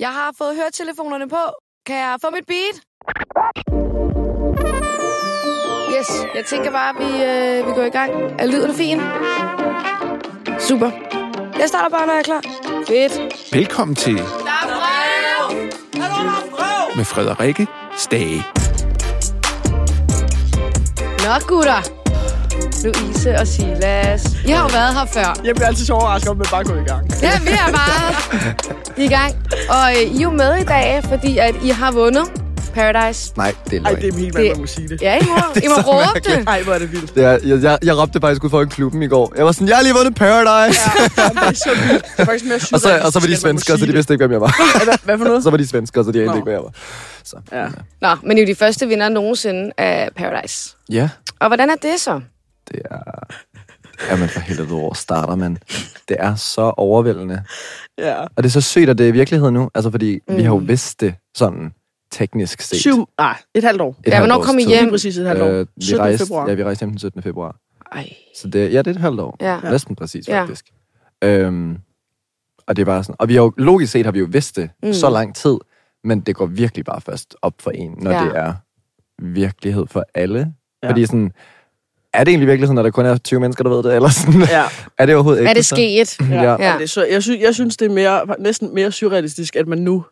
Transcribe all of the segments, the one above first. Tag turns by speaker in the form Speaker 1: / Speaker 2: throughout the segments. Speaker 1: Jeg har fået høretelefonerne på. Kan jeg få mit beat? Yes, jeg tænker bare, at vi, øh, vi går i gang. Er lyden fin? Super. Jeg starter bare, når jeg er klar. Fedt.
Speaker 2: Velkommen til
Speaker 1: Der er brev!
Speaker 2: med Frederikke Stage.
Speaker 1: Nå, gutter. Louise og Silas. I har jo været her før.
Speaker 3: Jeg bliver altid så overrasket, om man bare går i gang.
Speaker 1: Ja, vi er bare i gang. Og øh, I er jo med i dag, fordi at I har vundet Paradise.
Speaker 4: Nej, det er
Speaker 3: Ej,
Speaker 4: løgn.
Speaker 3: det er helt mand,
Speaker 1: Det-
Speaker 3: man må sige det.
Speaker 1: Ja, I må, I må
Speaker 4: så
Speaker 1: råbe det.
Speaker 3: Ej, hvor er det vildt.
Speaker 4: det er, jeg, jeg, jeg råbte faktisk ud for klubben i går. Jeg var sådan, jeg har lige vundet Paradise. Ja.
Speaker 3: Jamen, det er så vildt. Det er faktisk mere
Speaker 4: og, så, og så var de
Speaker 3: surrealistisk, at man må
Speaker 4: svenskere, så
Speaker 3: sige
Speaker 4: de vidste ikke, hvem jeg var.
Speaker 3: det. Hvad- Hvad for noget?
Speaker 4: så var de svenskere, så de anede
Speaker 3: Nå.
Speaker 4: ikke, hvem jeg var. Så.
Speaker 3: Ja.
Speaker 1: Nå, men I er jo de første vinder nogensinde af Paradise.
Speaker 4: ja,
Speaker 1: Og hvordan er det så?
Speaker 4: det er... Jamen for helvede, hvor starter man? Det er så overvældende.
Speaker 3: ja.
Speaker 4: Og det er så sygt, at det er virkelighed nu. Altså, fordi mm. vi har jo vidst det sådan teknisk set.
Speaker 3: Syv, nej, et halvt år.
Speaker 4: Et
Speaker 1: Ja,
Speaker 4: halvt
Speaker 1: hvornår
Speaker 4: års
Speaker 1: kom I
Speaker 4: tid.
Speaker 1: hjem?
Speaker 3: Lige præcis et halvt år.
Speaker 4: Øh, vi
Speaker 3: 17.
Speaker 4: rejste,
Speaker 3: februar.
Speaker 4: Ja, vi rejste hjem den 17. februar.
Speaker 1: Ej.
Speaker 4: Så det, ja, det er et halvt år.
Speaker 1: Ja.
Speaker 4: Ja. Næsten præcis,
Speaker 1: Ja.
Speaker 4: faktisk. Øhm, og det er bare sådan... Og vi har jo, logisk set har vi jo vidst det mm. så lang tid, men det går virkelig bare først op for en, når
Speaker 1: Ja.
Speaker 4: ja. det er virkelighed for alle.
Speaker 3: Ja.
Speaker 4: Ja. Fordi sådan... Er det egentlig virkelighed, når der kun er 20 mennesker, der ved det? Eller sådan, ja.
Speaker 3: Ja.
Speaker 4: er det overhovedet ikke?
Speaker 1: Er det sket?
Speaker 4: Ja.
Speaker 1: Ja.
Speaker 3: Ja. Det, er så jeg, synes, jeg synes, det er mere, næsten mere surrealistisk, at man nu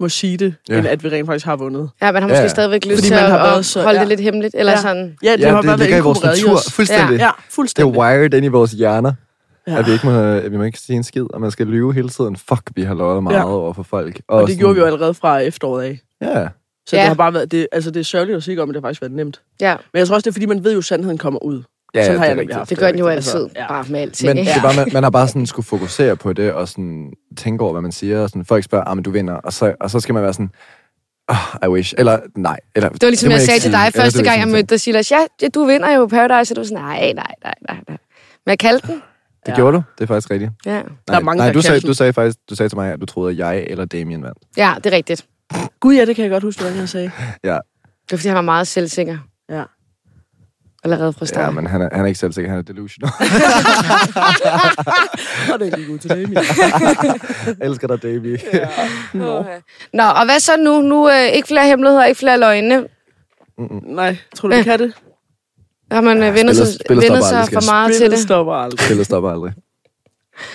Speaker 3: må sige det,
Speaker 4: Ja.
Speaker 3: ja. end at vi rent faktisk har vundet.
Speaker 1: Ja, man har måske
Speaker 4: Ja.
Speaker 1: stadigvæk lyst
Speaker 3: Fordi
Speaker 1: til
Speaker 3: man
Speaker 1: at
Speaker 3: har været
Speaker 1: at
Speaker 3: så-
Speaker 1: holde det
Speaker 3: ja.
Speaker 1: lidt hemmeligt. Eller
Speaker 3: Ja.
Speaker 1: sådan.
Speaker 3: Ja, det
Speaker 4: Ja,
Speaker 3: har
Speaker 4: det, det
Speaker 3: bare
Speaker 4: ligger i
Speaker 3: været
Speaker 4: vores natur.
Speaker 3: inkorporeret
Speaker 4: Fuldstændig. Ja.
Speaker 3: Ja,
Speaker 4: Det er
Speaker 3: fuldstændig.
Speaker 4: wired ind i vores hjerner.
Speaker 3: Ja.
Speaker 4: Ja. At vi, ikke må, vi må ikke sige en skid, og man skal lyve hele tiden. Fuck, vi har løjet meget
Speaker 3: Ja.
Speaker 4: ja. over for folk.
Speaker 3: Og det
Speaker 4: sådan-
Speaker 3: gjorde vi jo allerede fra efteråret af.
Speaker 4: Ja.
Speaker 3: Så
Speaker 1: Ja.
Speaker 3: ja. det har bare været, det, altså det er sørgeligt at sige om, at det har faktisk været nemt.
Speaker 1: Ja,
Speaker 3: Men jeg tror også, det er fordi, man ved jo, at sandheden kommer ud.
Speaker 4: Ja,
Speaker 3: Sådan
Speaker 4: ja,
Speaker 3: har
Speaker 4: det
Speaker 3: jeg
Speaker 4: er
Speaker 3: nemlig
Speaker 4: rigtigt.
Speaker 3: haft
Speaker 1: det gør den jo
Speaker 3: rigtigt,
Speaker 1: altid.
Speaker 3: altså. Ja.
Speaker 1: Bare med alting,
Speaker 4: Men
Speaker 1: ikke?
Speaker 4: det var, man, man har bare sådan skulle fokusere på det, og sådan tænke over, hvad man siger, og sådan, folk spørger, ah, men du vinder, og så, og så skal man være sådan, oh, I wish, eller nej. Eller,
Speaker 1: Det var ligesom,
Speaker 4: må
Speaker 1: jeg
Speaker 4: ikke
Speaker 1: sagde til
Speaker 4: sige."
Speaker 1: dig
Speaker 4: Eller,
Speaker 1: første
Speaker 4: det var
Speaker 1: gang, jeg
Speaker 4: sådan
Speaker 1: mødte dig, Silas. Ja, ja, du vinder jo Paradise. Og du var sådan, nej, nej, nej, nej. nej. Men jeg kaldte den.
Speaker 4: ting. Det gjorde du, det er faktisk rigtigt.
Speaker 1: Ja,
Speaker 3: Der er mange,
Speaker 4: nej,
Speaker 3: der
Speaker 4: du
Speaker 3: kan
Speaker 4: sagde,
Speaker 3: sådan.
Speaker 4: du sagde faktisk, du sagde til mig, at du troede, at jeg eller Damien vandt.
Speaker 1: ja det er rigtigt.
Speaker 3: Gud ja, det kan jeg godt huske, hvordan jeg sagde.
Speaker 4: Ja,
Speaker 1: Det var, fordi han var meget selvsikker
Speaker 3: Ja.
Speaker 1: allerede fra
Speaker 4: ja
Speaker 1: starten.
Speaker 4: men han er, han er ikke selv sikker, han er delusional.
Speaker 3: Og det gik ud til Damien.
Speaker 4: jeg elsker dig, Damien.
Speaker 1: Okay. Nå, og hvad så nu? Nu øh, ikke flere hemmeligheder, ikke flere løgne.
Speaker 4: Mm.
Speaker 3: Nej, tror du, vi kan det?
Speaker 1: Har man ja, vendet sig,
Speaker 4: spillet- spillet
Speaker 1: vendet
Speaker 4: stopper
Speaker 1: sig
Speaker 4: aldrig, skal
Speaker 1: for meget til
Speaker 3: Spillet
Speaker 1: det?
Speaker 3: stopper aldrig.
Speaker 4: Spillet stopper aldrig.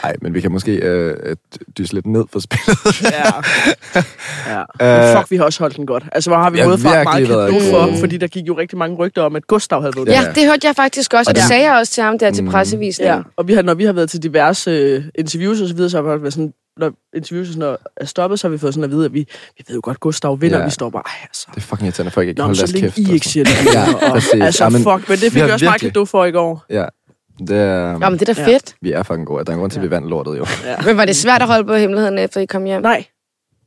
Speaker 4: Nej, men vi kan måske øh, øh, dyse lidt ned for spillet.
Speaker 3: Ja. ja. Men fuck, vi har også holdt den godt. Altså, hvor har vi
Speaker 4: Øh, Ja,
Speaker 3: både fået meget
Speaker 4: virkelig været
Speaker 3: kado
Speaker 4: gode.
Speaker 3: for, fordi der gik jo rigtig mange rygter om, at Gustav havde vundet.
Speaker 1: Ja,
Speaker 4: Ja.
Speaker 1: det hørte jeg faktisk også, og
Speaker 4: Og
Speaker 1: det Mm.
Speaker 4: det-
Speaker 1: sagde jeg også til ham der til pressevisningen.
Speaker 3: ja. Og vi har, når vi har været til diverse øh, interviews og så videre, så har vi været sådan, når interviews og sådan noget er stoppet, så har vi fået sådan at vide, at vi, vi ved jo godt, Gustav vinder,
Speaker 4: Ja.
Speaker 3: ja. vi står bare, ej altså.
Speaker 4: Det er fucking irriterende, at folk ikke
Speaker 3: Nå,
Speaker 4: kan
Speaker 3: men
Speaker 4: holde
Speaker 3: så
Speaker 4: deres
Speaker 3: længe
Speaker 4: kæft.
Speaker 3: I
Speaker 4: og
Speaker 3: ikke
Speaker 4: sådan.
Speaker 3: siger det.
Speaker 4: Ja, præcis.
Speaker 3: Altså,
Speaker 4: Ja, men
Speaker 3: fuck, men det
Speaker 4: vi
Speaker 3: fik
Speaker 4: har
Speaker 3: vi også bare
Speaker 4: virkelig-
Speaker 3: kado for i går.
Speaker 4: Ja, det er,
Speaker 1: Jamen, det er da
Speaker 3: Ja.
Speaker 1: fedt.
Speaker 4: vi er fucking gode. Der er en grund til, at vi vandt lortet, jo.
Speaker 1: Men var det svært at holde på hemmeligheden, efter I kom hjem?
Speaker 3: Nej,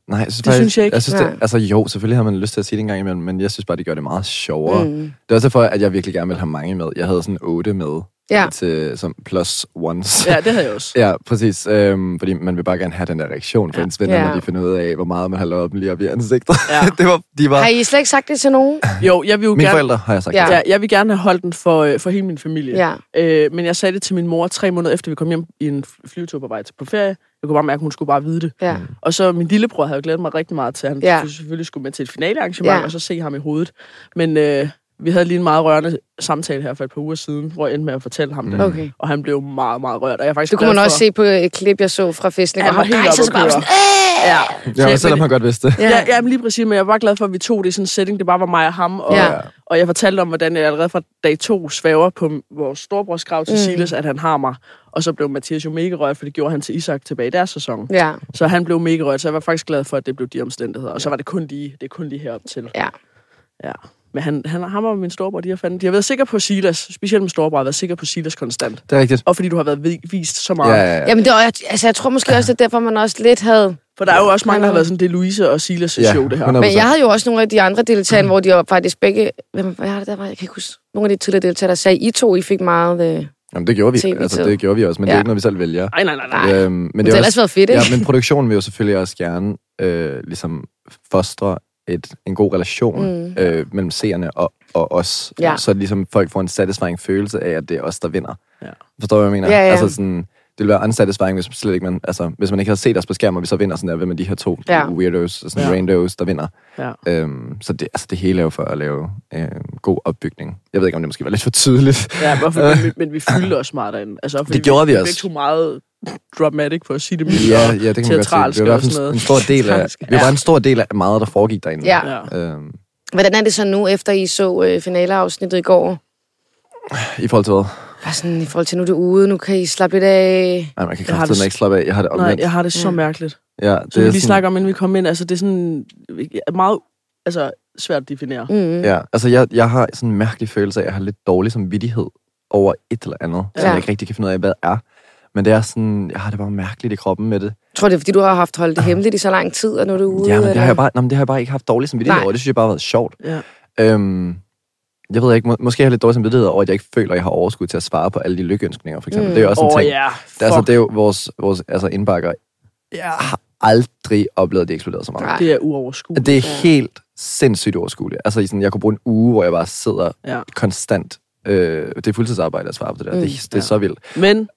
Speaker 4: Nej, jeg synes,
Speaker 3: Det synes jeg ikke.
Speaker 4: Jeg synes,
Speaker 1: Nej.
Speaker 4: det, altså jo, selvfølgelig har man lyst til at sige det en gang imellem, men jeg synes bare, det gør det meget sjovere. Mm. Det er også derfor, at jeg virkelig gerne vil have mange med. Jeg havde sådan otte med
Speaker 1: Ja.
Speaker 4: til, som plus ones.
Speaker 3: ja, det havde jeg også.
Speaker 4: Ja, præcis. Øhm, fordi man vil bare gerne have den der reaktion fra ens venner,
Speaker 1: Ja.
Speaker 4: når de finder ud af, hvor meget man har lavet dem lige op i ansigtet.
Speaker 3: Ja.
Speaker 4: det var, de var...
Speaker 1: Har I slet ikke sagt det til nogen?
Speaker 3: Jo, jeg vil jo
Speaker 4: Mine
Speaker 3: gerne...
Speaker 4: forældre har jeg sagt.
Speaker 1: Ja.
Speaker 4: Ja.
Speaker 3: Ja, jeg vil gerne have holdt den for, øh, for hele min familie.
Speaker 1: Ja.
Speaker 3: Øh, men jeg sagde det til min mor tre måneder efter, vi kom hjem i en fly- flyvetur på vej til på ferie. Jeg kunne bare mærke, at hun skulle bare vide det.
Speaker 1: Ja.
Speaker 3: Og så min lillebror havde jo glædet mig rigtig meget til, at han
Speaker 1: Ja.
Speaker 3: ja. selvfølgelig skulle med til et finalearrangement,
Speaker 1: Ja.
Speaker 3: ja. og så se ham i hovedet. Men øh, vi havde lige en meget rørende samtale her for et par uger siden, hvor jeg endte med at fortælle
Speaker 4: Mm.
Speaker 3: ham det.
Speaker 1: Okay.
Speaker 3: Og han blev meget, meget rørt. Og jeg er faktisk
Speaker 1: Det kunne
Speaker 3: glad
Speaker 1: man
Speaker 3: for,
Speaker 1: også se på et klip, jeg så fra Fæstning.
Speaker 3: Han var helt oppe at køre. Ja.
Speaker 4: Ja, men selvom han godt vidste det.
Speaker 1: Ja.
Speaker 3: Ja, ja, men lige præcis, men jeg var glad for, at vi tog det i sådan en setting. Det bare var mig og ham, og,
Speaker 1: Ja.
Speaker 3: ja. og jeg fortalte om, hvordan jeg allerede fra dag to svæver på vores storebrors grav til mm. Silas, at han har mig. Og så blev Mathias jo mega rørt, for det gjorde han til Isak tilbage i deres sæson.
Speaker 1: Ja.
Speaker 3: Så han blev mega rørt, så jeg var faktisk glad for, at det blev de omstændigheder. Og så var det kun lige, det er kun lige herop til.
Speaker 1: Ja.
Speaker 3: Ja. Men han, han, ham og min storebror, de har, fandt, de har været sikre på Silas. Specielt min storebror har været sikker på Silas konstant.
Speaker 4: Det er rigtigt.
Speaker 3: Og fordi du har været vi- vist så
Speaker 4: Ja,
Speaker 3: meget.
Speaker 4: ja, ja.
Speaker 1: Jamen, det var, altså, jeg tror måske også, det er derfor, man også lidt havde...
Speaker 3: For der er jo også mange, der har
Speaker 1: Ja.
Speaker 3: været sådan, det er Louise og Silas'
Speaker 4: Ja,
Speaker 3: show, det her.
Speaker 4: 100%.
Speaker 1: Men jeg havde jo også nogle af de andre deltagere, hvor de var faktisk begge... Hvem var det der var? Jeg kan ikke huske. Nogle af de tidligere deltagere, der sagde, I to, I fik meget... Øh... Men
Speaker 4: Jamen, det gjorde vi.
Speaker 1: TV-tid.
Speaker 4: Altså, det gjorde vi også, men det
Speaker 1: Ja.
Speaker 4: er ikke noget, vi selv vælger.
Speaker 3: Nej, nej, nej, nej.
Speaker 1: Ej.
Speaker 4: Øhm, men
Speaker 1: det har ellers været fedt, ikke?
Speaker 4: Ja, men produktionen vil jo selvfølgelig også gerne øh, ligesom fostre et, en god relation mm. øh, mellem seerne og, og os.
Speaker 1: Ja.
Speaker 4: Så ligesom folk får en satisfying følelse af, at det er os, der vinder.
Speaker 3: Ja.
Speaker 4: Forstår du, hvad jeg mener?
Speaker 1: Ja, ja.
Speaker 4: Altså sådan, det ville være unsatisfying, hvis man slet ikke man, altså, hvis man ikke havde set os på skærmen, og vi så vinder sådan der, hvem er de her to
Speaker 3: Ja.
Speaker 4: ja. weirdos, og sådan
Speaker 3: Ja.
Speaker 4: ja. randos, der vinder.
Speaker 3: Ja.
Speaker 4: Øhm, så det, altså, det hele er jo for at lave øhm, god opbygning. Jeg ved ikke, om det måske var lidt for tydeligt.
Speaker 3: Ja, hvorfor, men, vi- men vi fyldte også meget derinde. Altså, fordi
Speaker 4: Øh. Det gjorde vi
Speaker 3: vi
Speaker 4: også.
Speaker 3: Vi tog meget dramatic for at sige det mildt.
Speaker 4: Ja,
Speaker 3: og
Speaker 4: ja, det kan man godt
Speaker 3: teatralsk
Speaker 4: se. Vi var i hvert
Speaker 3: og sådan
Speaker 4: fald
Speaker 3: noget.
Speaker 4: en, en stor del af,
Speaker 3: Teatralsk.
Speaker 4: vi var en stor del af meget, der foregik derinde.
Speaker 1: Ja.
Speaker 3: Ja.
Speaker 4: Øhm,
Speaker 1: Hvordan er det så nu, efter I så øh, finaleafsnittet i går?
Speaker 4: I forhold til hvad?
Speaker 1: Bare sådan i forhold til, nu er det ude, nu kan I slappe lidt af.
Speaker 4: Nej, man kan
Speaker 3: Jeg har
Speaker 4: kraftedeme
Speaker 3: det-
Speaker 4: ikke slappe af. Jeg har det
Speaker 3: Nej,
Speaker 4: omvendt.
Speaker 3: jeg har det så mærkeligt.
Speaker 4: ja,
Speaker 3: Som vi lige
Speaker 4: sådan-
Speaker 3: snakker om, inden vi kom ind. Altså, det er sådan ja, meget altså, svært at definere.
Speaker 1: Mm.
Speaker 4: Ja, altså jeg, jeg har sådan en mærkelig følelse af, at jeg har lidt dårlig samvittighed over et eller andet, ja.
Speaker 1: Ja.
Speaker 4: som jeg ikke rigtig kan finde ud af, hvad er. Men det er sådan, jeg har det bare mærkeligt i kroppen med det.
Speaker 1: Tror det er, fordi du har haft holdt det hemmeligt i så lang tid, og nu er du ude?
Speaker 4: Ja, men det har
Speaker 1: eller?
Speaker 4: jeg bare, nej, men det har jeg bare ikke haft dårlig samvittighed
Speaker 1: Nej.
Speaker 4: over. Det synes jeg bare har været sjovt.
Speaker 3: Ja.
Speaker 4: Øhm, jeg ved ikke, må, måske har jeg lidt dårlig samvittighed over, at jeg ikke føler, at jeg har overskud til at svare på alle de lykkeønskninger, for eksempel.
Speaker 1: Mm.
Speaker 4: Mm. Det er også en
Speaker 3: Åh oh,
Speaker 4: ting.
Speaker 3: ja,
Speaker 4: Det, er, altså,
Speaker 3: fuck,
Speaker 4: det er jo vores, vores altså indbakker. Jeg har aldrig oplevet, at det eksploderede så meget.
Speaker 1: Nej.
Speaker 3: det er uoverskueligt.
Speaker 4: Det er
Speaker 1: Ja.
Speaker 4: helt sindssygt overskueligt. Altså, i sådan, jeg kunne bruge en uge, hvor jeg bare sidder
Speaker 3: Ja.
Speaker 4: ja. konstant. Øh, det er fuldtidsarbejde at svare på det der.
Speaker 1: Mm.
Speaker 4: Mm. Det, det er
Speaker 3: Ja.
Speaker 4: så vildt.
Speaker 3: Men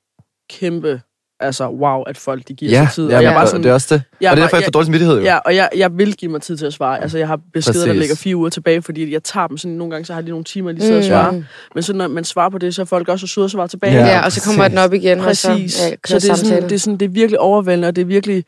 Speaker 3: kæmpe, altså wow, at folk de giver
Speaker 4: Ja,
Speaker 3: sig tid.
Speaker 4: ja
Speaker 3: og
Speaker 4: men,
Speaker 3: jeg er bare
Speaker 4: og
Speaker 3: sådan,
Speaker 4: det er også det.
Speaker 3: jeg
Speaker 4: og det
Speaker 3: var-
Speaker 4: er derfor, jeg
Speaker 3: jeg-
Speaker 4: får dårlig samvittighed. Jo.
Speaker 3: Ja, og jeg, jeg vil give mig tid til at svare. Altså, jeg har beskeder, der
Speaker 4: Præcis.
Speaker 3: ligger fire uger tilbage, fordi jeg tager dem sådan, nogle gange, så har de nogle timer, lige sidder og
Speaker 1: Mm.
Speaker 3: svarer.
Speaker 1: Ja.
Speaker 3: Men så når man svarer på det, så er folk også så søde og svarer tilbage.
Speaker 4: Ja,
Speaker 1: Ja, og så kommer
Speaker 4: præcis.
Speaker 1: den op igen, og
Speaker 3: Præcis.
Speaker 1: så, ja,
Speaker 3: så
Speaker 1: kører
Speaker 3: det er, sådan, det, er sådan, det er virkelig overvældende, og det er virkelig,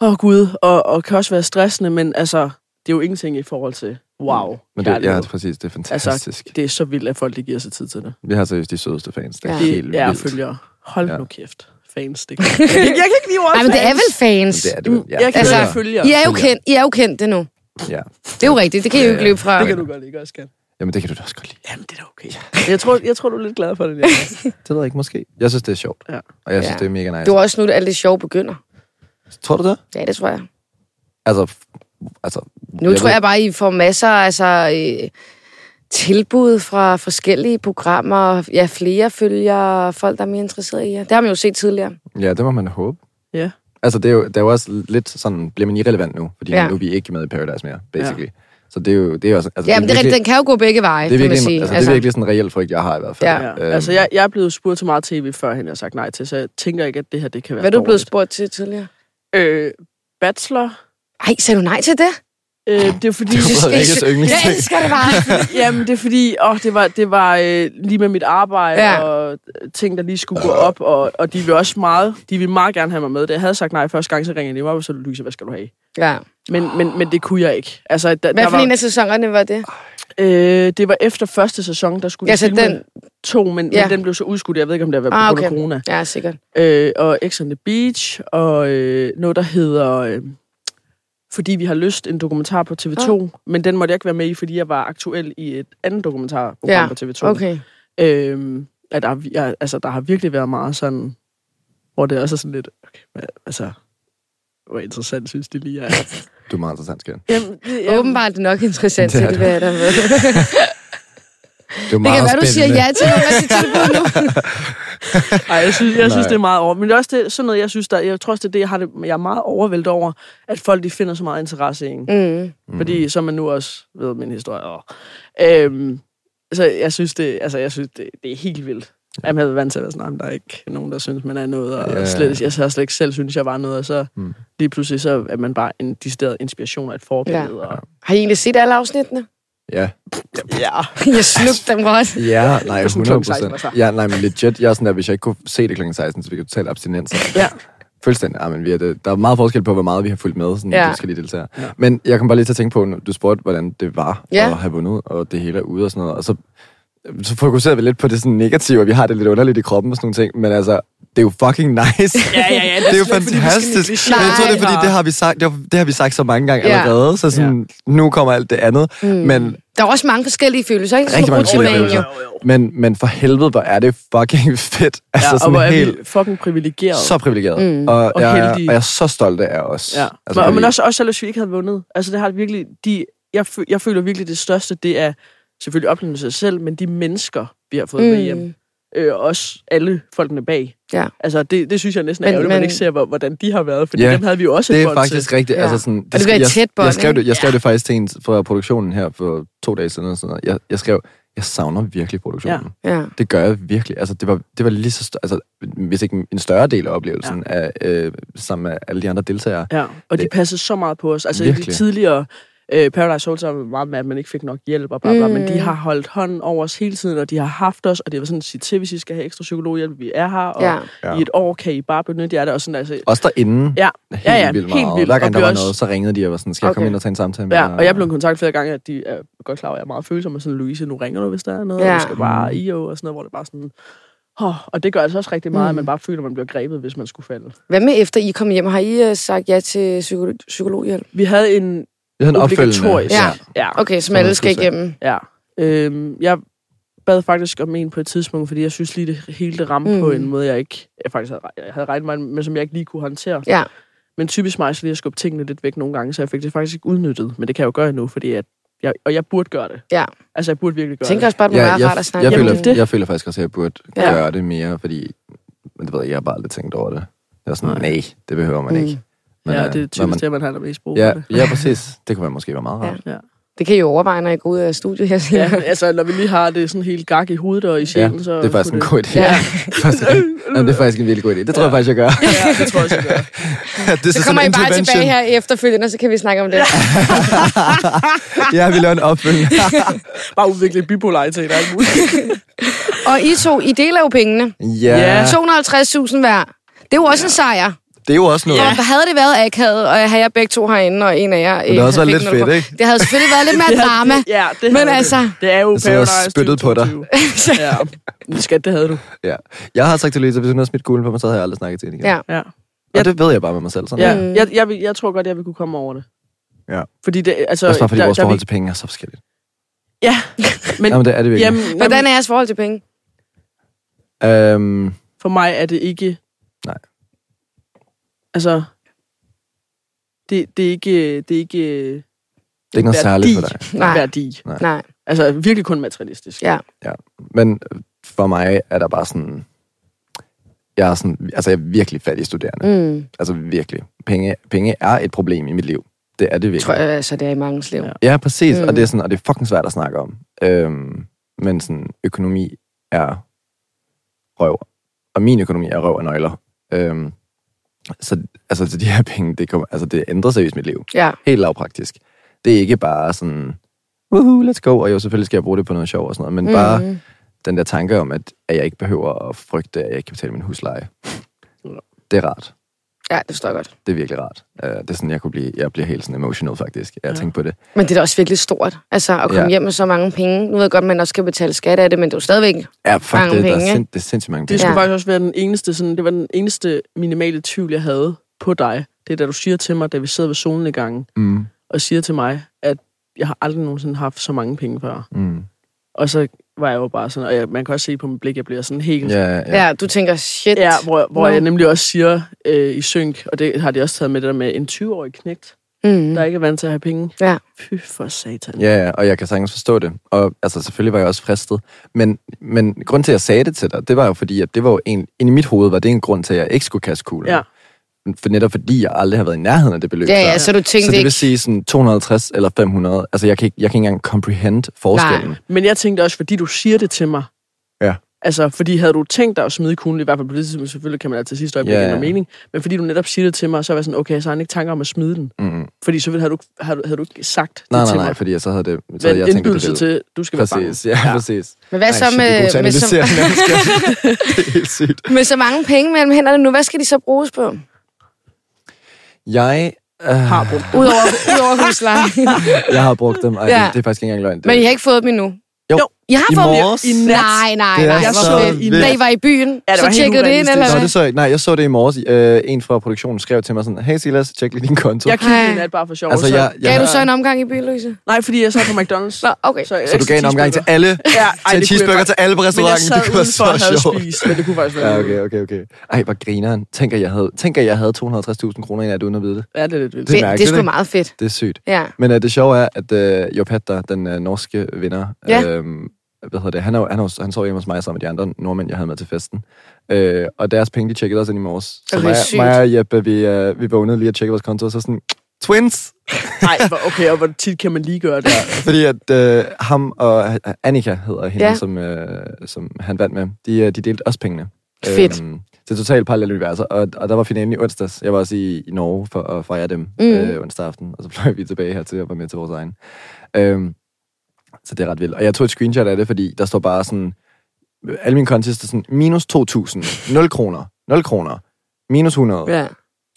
Speaker 3: åh oh, gud, og, og kan også være stressende, men altså, det er jo ingenting i forhold til, wow,
Speaker 4: Mm. Men det, ja,
Speaker 3: kærlighed.
Speaker 4: det er præcis. Det er
Speaker 3: Altså,
Speaker 4: fantastisk. Altså,
Speaker 3: det er så vildt, at folk de giver sig tid til det.
Speaker 4: vi har seriøst de sødeste fans. Det er
Speaker 1: Ja.
Speaker 4: ja.
Speaker 3: Det
Speaker 4: helt vildt.
Speaker 3: er følger. Hold
Speaker 4: Ja.
Speaker 3: nu kæft. Fans, det kan. jeg, kan- jeg kan ikke lide ordet
Speaker 1: Ej, men det er vel
Speaker 4: Men
Speaker 1: fans.
Speaker 4: Det er det. vel. Ja.
Speaker 3: Jeg kan
Speaker 1: Altså,
Speaker 3: altså, følger.
Speaker 1: I er jo kendt, I er jo kendt det nu.
Speaker 4: ja.
Speaker 1: Det er jo rigtigt, det kan I jo ikke løbe fra.
Speaker 3: Det kan du godt ikke også, kan.
Speaker 4: Jamen, det kan du da også godt lide.
Speaker 3: Jamen, det er da okay. Jeg tror, jeg tror, du er lidt glad for det. Jacob.
Speaker 4: Det ved jeg ikke, måske. Jeg synes, det er sjovt.
Speaker 3: Ja.
Speaker 4: Og jeg synes,
Speaker 1: Ja.
Speaker 4: Altså, det er mega nice.
Speaker 1: Det var også nu, at alt det sjove begynder.
Speaker 4: Tror du det?
Speaker 1: Ja, det tror jeg.
Speaker 4: Altså, f- altså
Speaker 1: Nu jeg tror
Speaker 4: ved-
Speaker 1: jeg bare, I får masser altså, øh, tilbud fra forskellige programmer. Ja, flere følger folk, der er mere interesserede i jer. Det har man jo set tidligere.
Speaker 4: Ja, det må man håbe.
Speaker 3: Ja.
Speaker 4: Altså, det er jo, det er jo også lidt sådan, bliver man irrelevant nu, fordi
Speaker 1: Ja.
Speaker 4: ja. nu er vi ikke med i Paradise mere, basically. Ja. Så det er jo, det er også, altså,
Speaker 1: Ja, men det er rigtigt, den
Speaker 4: virkelig-
Speaker 1: kan jo gå begge veje,
Speaker 4: det er
Speaker 1: kan man
Speaker 4: virkelig,
Speaker 1: sige.
Speaker 4: altså, det er virkelig sådan en reel frygt, jeg har i hvert fald. Øhm,
Speaker 1: Ja.
Speaker 3: Ja. Altså, jeg, jeg er blevet spurgt til meget tv før, han har sagt nej til, så jeg tænker ikke, at det her det kan være
Speaker 1: hvad er du blevet
Speaker 3: dårligt.
Speaker 1: spurgt til tidligere?
Speaker 3: Øh, bachelor.
Speaker 1: Ej, sagde du nej til det?
Speaker 3: Øh, det er fordi...
Speaker 4: Det var Rikkes
Speaker 1: Jeg
Speaker 4: yndlingsting.
Speaker 1: elsker det bare.
Speaker 3: Jamen, det er fordi, åh, det var, det var øh, lige med mit arbejde
Speaker 1: Ja.
Speaker 3: ja. og øh, ting, der lige skulle gå op, og, og de vil også meget, de vil meget gerne have mig med. Da jeg havde sagt nej første gang, så ringede de mig op, og så Louise, hvad skal du have?
Speaker 1: Ja.
Speaker 3: Men, men, men det kunne jeg ikke. Altså, der,
Speaker 1: Hvad
Speaker 3: der
Speaker 1: for
Speaker 3: var,
Speaker 1: en af sæsonerne var det?
Speaker 3: øh, det var efter første sæson, der skulle
Speaker 1: Ja,
Speaker 3: de
Speaker 1: så
Speaker 3: filme
Speaker 1: den-
Speaker 3: to, men,
Speaker 1: Ja.
Speaker 3: men den blev så udskudt. Jeg ved ikke, om det har været
Speaker 1: Ah,
Speaker 3: på grund af
Speaker 1: okay.
Speaker 3: corona.
Speaker 1: Ja, sikkert.
Speaker 3: øh, og X on the Beach, og øh, noget, der hedder... Øh, fordi vi har lyst en dokumentar på TV2, oh. men den måtte jeg ikke være med i, fordi jeg var aktuel i et andet dokumentarprogram
Speaker 1: Ja,
Speaker 3: på TV2.
Speaker 1: Okay.
Speaker 3: Øhm, at der, vi- jeg, altså, der har virkelig været meget sådan, hvor det også er sådan lidt, okay, hvad, altså, hvor interessant synes de lige er.
Speaker 4: Du er meget interessant, Skjern.
Speaker 3: jamen, det, jamen,
Speaker 1: Åbenbart er det nok interessant
Speaker 4: Det
Speaker 1: til
Speaker 4: er
Speaker 1: det, hvad
Speaker 4: det.
Speaker 1: jeg er der med.
Speaker 4: Det, er
Speaker 1: Det kan
Speaker 4: meget
Speaker 1: være, du siger
Speaker 4: spændende.
Speaker 1: ja til nogle af de tilbud nu.
Speaker 3: Ej, jeg synes, jeg synes
Speaker 4: Nej.
Speaker 3: det er meget over. Men det er også det, sådan noget, jeg synes, der, jeg tror også, det er det, jeg, har det, jeg er meget overvældet over, at folk de finder så meget interesse i en.
Speaker 1: Mm.
Speaker 4: Mm-hmm.
Speaker 3: Mm. Fordi så er man nu også ved min historie. Og, øhm, så jeg synes, det, altså, jeg synes det, det er helt vildt. Jeg havde været vant til at være sådan, "Jamen, der er ikke nogen, der synes, man er noget. Og
Speaker 4: Ja.
Speaker 3: yeah. slet, jeg har slet ikke selv synes, jeg var noget. Og så
Speaker 4: Mm.
Speaker 3: mm. lige pludselig så er man bare en decideret inspiration og et forbillede. Ja. Og,
Speaker 1: Har I egentlig set alle afsnittene?
Speaker 4: Ja.
Speaker 3: ja.
Speaker 1: Jeg slugte dem godt.
Speaker 4: Ja, nej,
Speaker 3: Det er sådan klokken
Speaker 4: 100
Speaker 3: 16, altså.
Speaker 4: procent. Ja, nej, men legit, jeg er sådan der, hvis jeg ikke kunne se det kl. 16, så fik jeg totalt abstinenser.
Speaker 3: Ja.
Speaker 4: Fuldstændig. Ja, men vi er det, der er meget forskel på, hvor meget vi har fulgt med, sådan,
Speaker 1: Ja.
Speaker 4: ja. de forskellige deltagere. Ja. Men jeg kom bare lige til at tænke på, nu- du spurgte, hvordan det var
Speaker 1: Ja.
Speaker 4: ja. at have vundet, og det hele er ude og sådan noget. Og så, så fokuserede vi lidt på det sådan negative, og vi har det lidt underligt i kroppen og sådan nogle ting. Men altså, det er jo fucking nice.
Speaker 3: Ja, ja, ja, det er
Speaker 4: det, er
Speaker 3: slet
Speaker 4: jo
Speaker 3: ikke, fordi vi skal
Speaker 4: fantastisk.
Speaker 3: negligere
Speaker 4: Men jeg tror, det
Speaker 1: det
Speaker 4: er, fordi
Speaker 3: bare.
Speaker 4: det har vi sagt, det har, det har vi sagt så mange gange
Speaker 1: Ja.
Speaker 4: ja. allerede, så sådan, ja. nu kommer alt det andet. Mm. Men
Speaker 1: Der er også mange forskellige følelser, ikke?
Speaker 4: Rigtig mange
Speaker 1: Sådan en
Speaker 4: forskellige
Speaker 1: rutsjebane,
Speaker 4: altså. Men, men for helvede, hvor er det fucking fedt. Altså
Speaker 3: ja og
Speaker 4: sådan
Speaker 3: hvor er
Speaker 4: helt
Speaker 3: vi fucking privilegeret.
Speaker 4: så privilegeret. Mm. Og,
Speaker 3: Og
Speaker 4: og, jeg, er- og
Speaker 3: heldige.
Speaker 4: jeg er så stolt af os.
Speaker 3: Ja.
Speaker 4: Altså,
Speaker 3: Altså, men,
Speaker 4: fordi-
Speaker 3: men også, også selv hvis vi ikke havde vundet. Altså, det har virkelig... De, jeg, fø, jeg føler virkelig, det største, det er selvfølgelig oplevelsen af sig selv, men de mennesker, vi har fået mm. med
Speaker 1: jo.
Speaker 3: hjem.
Speaker 1: Mm.
Speaker 3: øh, også alle folkene bag.
Speaker 1: Ja.
Speaker 3: Altså, det, det synes jeg næsten er
Speaker 1: Men-
Speaker 3: ærgerligt, man
Speaker 1: men-
Speaker 3: ikke ser, hvor- hvordan de har været, fordi
Speaker 4: Ja,
Speaker 3: dem havde vi jo også
Speaker 4: det
Speaker 3: et
Speaker 4: er
Speaker 3: bånd
Speaker 4: faktisk
Speaker 3: til.
Speaker 4: rigtigt.
Speaker 1: Ja.
Speaker 4: Ja. Altså sådan,
Speaker 1: Og det skal være et tæt bånd,
Speaker 4: jeg, jeg skrev
Speaker 1: ikke?
Speaker 4: det, jeg skrev det faktisk til en fra produktionen her for to dage siden. Og sådan noget. Jeg, jeg skrev, jeg savner virkelig produktionen. Ja.
Speaker 1: Ja.
Speaker 4: Det gør jeg virkelig. Altså, det var, det var lige så større, altså, hvis ikke en større del af oplevelsen, ja. af, øh, sammen med alle de andre deltagere.
Speaker 3: Ja, og de
Speaker 4: Det-
Speaker 3: passede så meget på os. Altså Virkelig. i de
Speaker 4: Virkelig.
Speaker 3: tidligere øh, Paradise Hotel, så var det meget med, at man ikke fik nok hjælp og bla bla, mm. men de har holdt hånden over os hele tiden, og de har haft os, og det var sådan, at sige til, hvis I skal have ekstra psykologhjælp, vi er her, og
Speaker 1: Ja.
Speaker 3: ja. i et år kan I bare benytte jer af det, og sådan altså...
Speaker 4: Også derinde.
Speaker 3: Ja,
Speaker 4: Helt
Speaker 3: ja, ja,
Speaker 4: vildt
Speaker 3: helt
Speaker 4: meget.
Speaker 3: vildt.
Speaker 4: Hver gang
Speaker 3: Og
Speaker 4: der
Speaker 3: vi
Speaker 4: var
Speaker 3: også-
Speaker 4: noget, så ringede de og var sådan, skal jeg
Speaker 1: Okay.
Speaker 4: komme ind og tage en samtale med
Speaker 3: Ja,
Speaker 4: dig?
Speaker 3: og
Speaker 1: øh,
Speaker 3: jeg blev kontaktet flere gange, at de er godt klar over, at jeg er meget følsom, og sådan, Louise, nu ringer du, hvis der er noget, ja.
Speaker 1: Ja.
Speaker 3: og du skal bare i og sådan noget, hvor det bare sådan... Oh, og det gør altså også rigtig meget, mm. at man bare føler, at man bliver grebet, hvis man skulle falde.
Speaker 1: Hvad med efter I kom hjem? Har I øh, sagt ja til psykolo- psykologhjælp?
Speaker 3: Vi havde en
Speaker 4: Jeg havde en
Speaker 3: obligatorisk...
Speaker 4: opfølgende.
Speaker 1: Ja.
Speaker 3: ja.
Speaker 1: Okay, som
Speaker 4: man
Speaker 1: alle skal
Speaker 4: skulle sige.
Speaker 1: igennem.
Speaker 3: Ja. Øhm, jeg bad faktisk om en på et tidspunkt, fordi jeg synes lige, det hele det ramte mm.
Speaker 1: Mm.
Speaker 3: på en måde, jeg ikke jeg faktisk havde, jeg havde regnet mig, men som jeg ikke lige kunne håndtere.
Speaker 1: Ja.
Speaker 3: Men typisk mig, så lige at skubbe tingene lidt væk nogle gange, så jeg fik det faktisk ikke udnyttet. Men det kan jeg jo gøre endnu, fordi at jeg, og jeg burde gøre det.
Speaker 1: Ja.
Speaker 3: Altså, jeg burde virkelig
Speaker 1: Jeg
Speaker 3: gøre
Speaker 1: tænker
Speaker 3: det.
Speaker 1: også bare, at det må
Speaker 4: Ja,
Speaker 1: være rart
Speaker 4: jeg,
Speaker 1: at
Speaker 4: jeg,
Speaker 1: snakke.
Speaker 4: jeg,
Speaker 3: Jamen,
Speaker 4: føler,
Speaker 3: det er det.
Speaker 4: jeg føler faktisk også, at jeg burde
Speaker 1: Ja.
Speaker 4: gøre det mere, fordi men det ved jeg, jeg har bare aldrig tænkt over det. Jeg er sådan, nej, det behøver man
Speaker 1: Mm.
Speaker 4: ikke. Men,
Speaker 3: Ja,
Speaker 4: øh,
Speaker 3: det er
Speaker 4: når
Speaker 3: typisk
Speaker 4: man,
Speaker 3: det, man har der mest brug for
Speaker 4: ja,
Speaker 3: det.
Speaker 4: ja, præcis. Det kunne være måske være meget
Speaker 1: Ja.
Speaker 4: rart.
Speaker 1: Det kan I jo overveje, når I går ud af studiet her.
Speaker 3: Ja,
Speaker 1: Ja.
Speaker 3: altså, når vi lige har det sådan helt gak i hovedet og i
Speaker 4: Ja,
Speaker 3: sjælen, så...
Speaker 4: det er faktisk en god idé.
Speaker 1: Ja.
Speaker 4: Første gang. Jamen, det er faktisk en virkelig god idé. Det tror jeg faktisk, jeg gør.
Speaker 3: Ja, det tror jeg, jeg gør.
Speaker 4: det
Speaker 1: Så kommer I bare tilbage her efterfølgende, og så kan vi snakke om det.
Speaker 4: Ja, vi laver en opfølgning.
Speaker 3: Bare udvikle bipolaritet og alt muligt.
Speaker 1: Og I to, I deler jo pengene.
Speaker 4: ja,
Speaker 3: Ja.
Speaker 1: 250.000 hver. Det er jo også en sejr.
Speaker 4: det er jo også noget.
Speaker 1: Ja. Og havde det været akavet, og havde jeg begge to herinde, og en af jer...
Speaker 4: det har også været lidt fedt, ikke?
Speaker 1: Det havde selvfølgelig været lidt mere drama.
Speaker 3: Ja, det
Speaker 1: Men
Speaker 3: havde det.
Speaker 1: altså-
Speaker 3: Det er jo
Speaker 4: Jeg sidder og
Speaker 3: Paradise
Speaker 4: spyttede på dig.
Speaker 3: 2022. Ja. Skat, det havde du.
Speaker 4: Ja. Jeg har sagt til Louise, at hvis hun havde smidt gulden på mig, så havde jeg aldrig snakket til hende igen.
Speaker 1: Ja.
Speaker 3: Ja.
Speaker 4: Og det ved jeg bare med mig selv. Sådan
Speaker 3: ja.
Speaker 4: er det.
Speaker 1: Øh.
Speaker 3: Jeg, jeg, vil- jeg tror godt, jeg vil kunne komme over det.
Speaker 4: Ja.
Speaker 3: Fordi det, altså...
Speaker 4: Også bare fordi
Speaker 3: der-
Speaker 4: vores
Speaker 3: der
Speaker 4: forhold
Speaker 3: vil-
Speaker 4: til penge er så forskelligt.
Speaker 3: Ja. Men,
Speaker 4: Jamen, det er det virkelig.
Speaker 3: jamen,
Speaker 1: Hvordan
Speaker 3: jamen,
Speaker 1: er jeres forhold til penge?
Speaker 4: Øhm,
Speaker 3: for mig er det ikke...
Speaker 4: Nej.
Speaker 3: Altså... Det, det er ikke... Det er ikke
Speaker 4: det er ikke noget
Speaker 3: værdi.
Speaker 4: særligt for dig.
Speaker 1: Nej.
Speaker 3: værdi.
Speaker 1: Nej.
Speaker 3: Altså virkelig kun materialistisk.
Speaker 1: Ja.
Speaker 4: Men øh, for mig er der bare sådan... Jeg er, sådan, altså jeg er virkelig fattig studerende. Mm.
Speaker 1: Mm.
Speaker 4: Altså virkelig. Penge, penge er et problem i mit liv. Det er det virkelig.
Speaker 1: Jeg tror jeg, altså, det er i mange liv.
Speaker 3: Ja.
Speaker 1: Ja.
Speaker 4: Ja, præcis.
Speaker 1: Mm.
Speaker 4: Mm. Og, det er sådan, og det er fucking svært at snakke om. Øhm, men sådan, økonomi er røv. Og min økonomi er røv og nøgler. Øhm, så altså, så de her penge, det, kommer, altså, det ændrer seriøst mit liv.
Speaker 1: ja.
Speaker 4: Helt lavpraktisk. Det er ikke bare sådan, woohoo, let's go, og jo, selvfølgelig skal jeg bruge det på noget sjov og sådan noget, men mm. bare
Speaker 1: Mm.
Speaker 4: den der tanke om, at, at jeg ikke behøver at frygte, at jeg ikke kan betale min husleje. Det er rart.
Speaker 1: ja, det forstår jeg godt.
Speaker 4: Det er virkelig rart. Øh, det er sådan, jeg kunne blive, jeg bliver helt sådan emotional faktisk, af at
Speaker 3: Ja.
Speaker 4: ja. tænke på det.
Speaker 1: Men det er da også virkelig stort, altså at komme ja.
Speaker 4: Ja.
Speaker 1: hjem med så mange penge. Nu ved jeg godt, at man også skal betale skat af det, men det er jo stadigvæk...
Speaker 4: Ja, fuck,
Speaker 1: Mange
Speaker 4: det, der er,
Speaker 1: penge,
Speaker 4: sind, det er sindssygt mange
Speaker 3: Det
Speaker 4: penge.
Speaker 3: skulle
Speaker 1: Ja.
Speaker 3: faktisk også være den eneste, sådan, det var den eneste minimale tvivl, jeg havde på dig. Det er da du siger til mig, da vi sidder ved solnedgangen,
Speaker 4: Mm,
Speaker 3: og siger til mig, at jeg har aldrig nogensinde haft så mange penge før.
Speaker 4: mm.
Speaker 3: Og så var jeg jo bare sådan, og jeg, man kan også se på mit blik, jeg bliver sådan helt...
Speaker 4: Ja, ja.
Speaker 1: Ja, du tænker, shit.
Speaker 3: Ja, hvor, hvor
Speaker 1: Nå.
Speaker 3: jeg nemlig også siger øh, i synk, og det har de også taget med det der med en 20-årig knægt,
Speaker 1: Mm.
Speaker 3: der ikke er vant til at have penge.
Speaker 1: Ja.
Speaker 3: Fy for satan.
Speaker 4: Ja, ja, og jeg kan sagtens forstå det. Og altså, selvfølgelig var jeg også fristet. Men, men grunden til, at jeg sagde det til dig, det var jo fordi, at det var jo en, ind i mit hoved, var det en grund til, at jeg ikke skulle kaste kuglen.
Speaker 3: Ja.
Speaker 4: For netop fordi, jeg aldrig har været i nærheden af det beløb.
Speaker 1: Ja,
Speaker 4: før.
Speaker 1: ja, så du
Speaker 4: så
Speaker 1: tænkte
Speaker 4: det
Speaker 1: ikke...
Speaker 4: vil sige sådan 250 eller 500. Altså, jeg kan ikke, jeg kan ikke engang comprehend forskellen.
Speaker 1: Nej.
Speaker 3: Men jeg tænkte også, fordi du siger det til mig,
Speaker 4: Ja.
Speaker 3: Altså, fordi havde du tænkt dig at smide kuglen, i hvert fald på det tidspunkt, selvfølgelig kan man altid sidste øjeblik
Speaker 4: Ja,
Speaker 3: yeah.
Speaker 4: ja.
Speaker 3: mening, men fordi du netop siger det til mig, så var jeg sådan, okay, så har han ikke tanker om at smide den.
Speaker 4: Mm.
Speaker 3: Fordi så ville, havde, du, ikke- havde, havde du ikke sagt det
Speaker 4: Nej, nej,
Speaker 3: til
Speaker 4: nej,
Speaker 3: mig.
Speaker 4: fordi jeg så havde det... Så
Speaker 3: Så
Speaker 4: havde
Speaker 3: jeg
Speaker 4: jeg tænkte, det
Speaker 3: indbydelse til, du skal være bange.
Speaker 4: Præcis, ja,
Speaker 3: Ja.
Speaker 4: ja, præcis.
Speaker 1: Men hvad så
Speaker 4: Ej, shit, vi er gode til
Speaker 1: med,
Speaker 4: at
Speaker 1: med, så,
Speaker 4: analysere hinanden, skat. Det er helt sygt.
Speaker 1: med så mange penge mellem hænderne nu? Hvad skal de så bruges på?
Speaker 4: Jeg, øh,
Speaker 3: Har brugt det.
Speaker 1: Udover, udover huslejen.
Speaker 4: jeg har brugt dem, og
Speaker 1: Ja.
Speaker 4: ja. det, det er faktisk ikke engang løgn. Det,
Speaker 1: men I har ikke fået dem endnu?
Speaker 4: Jo.
Speaker 1: I har
Speaker 4: I
Speaker 1: fået dem?
Speaker 4: morges.
Speaker 3: I nat.
Speaker 1: Nej, nej,
Speaker 4: Det er
Speaker 1: nej.
Speaker 3: Jeg
Speaker 1: hvor
Speaker 3: så
Speaker 1: fedt.
Speaker 3: i
Speaker 4: vildt.
Speaker 1: Da I var i byen,
Speaker 3: Ja, det var
Speaker 1: så
Speaker 3: helt
Speaker 1: tjekkede det ind,
Speaker 3: urealistisk.
Speaker 1: eller
Speaker 4: Nå,
Speaker 1: hvad?
Speaker 4: det så jeg ikke. Nej, jeg så det i morges. Øh, en fra produktionen skrev til mig sådan, hey Silas, tjek lige din konto.
Speaker 3: Jeg kiggede i
Speaker 1: Ej.
Speaker 3: nat bare for sjov.
Speaker 4: altså,
Speaker 3: så-
Speaker 4: jeg, jeg,
Speaker 1: Gav du så en omgang i byen, Louise?
Speaker 3: Nej, fordi jeg sad på McDonald's.
Speaker 1: Nå, okay.
Speaker 3: Så,
Speaker 4: så du gav en omgang til alle,
Speaker 3: Øh, Ja, ej, det kunne
Speaker 4: til
Speaker 3: jeg
Speaker 4: en cheeseburger
Speaker 3: faktisk-
Speaker 4: til alle
Speaker 3: Men
Speaker 4: på
Speaker 3: jeg
Speaker 4: restauranten.
Speaker 3: sad
Speaker 4: Det var
Speaker 3: udenfor og havde
Speaker 4: så sjovt.
Speaker 3: spist, men det kunne faktisk være
Speaker 4: Ja, okay, okay, okay. Ej, hvor grineren. Tænk, at jeg havde, tænk, at jeg havde 250.000 kroner i nat, uden at vide det.
Speaker 3: Ja, det er lidt vildt.
Speaker 1: Det,
Speaker 4: Det-
Speaker 1: det er
Speaker 4: mærkeligt,
Speaker 1: sgu
Speaker 4: ikke?
Speaker 1: meget fedt.
Speaker 4: Det er sygt.
Speaker 1: Ja.
Speaker 4: Men øh, det sjove er, at øh, Jo Patter, den øh, norske vinder,
Speaker 1: Ja.
Speaker 4: øhm, hvad hedder det, han, er, jo- han, er, jo- han sov hjemme hos mig sammen med de andre nordmænd, jeg havde med til festen. Øh, og deres penge, de tjekkede også ind i morges. Så
Speaker 1: Okay,
Speaker 4: mig,
Speaker 1: sygt.
Speaker 4: mig og Jeppe, vi, øh, vi vågnede lige og tjekkede vores konto, og så sådan, Twins!
Speaker 3: Nej, okay, og hvor tit kan man lige gøre det?
Speaker 4: Fordi at øh, ham og øh, Annika hedder hende,
Speaker 1: Ja.
Speaker 4: ja. som, øh, som han vandt med, de, øh, de delte også pengene.
Speaker 1: Fedt.
Speaker 4: Øhm, det er totalt parallelle universer, og, og der var finalen i onsdags. Jeg var også i, i Norge for at fejre dem
Speaker 1: Mm.
Speaker 4: mm. øh, onsdag aften, og så fløj vi tilbage hertil og var med til vores egen. Øhm, så det er ret vildt. Og jeg tog et screenshot af det, fordi der står bare sådan, alle mine kontis er sådan, minus 2.000, 0 kroner, 0 kroner, minus 100, ja.
Speaker 1: Ja.
Speaker 4: 250.000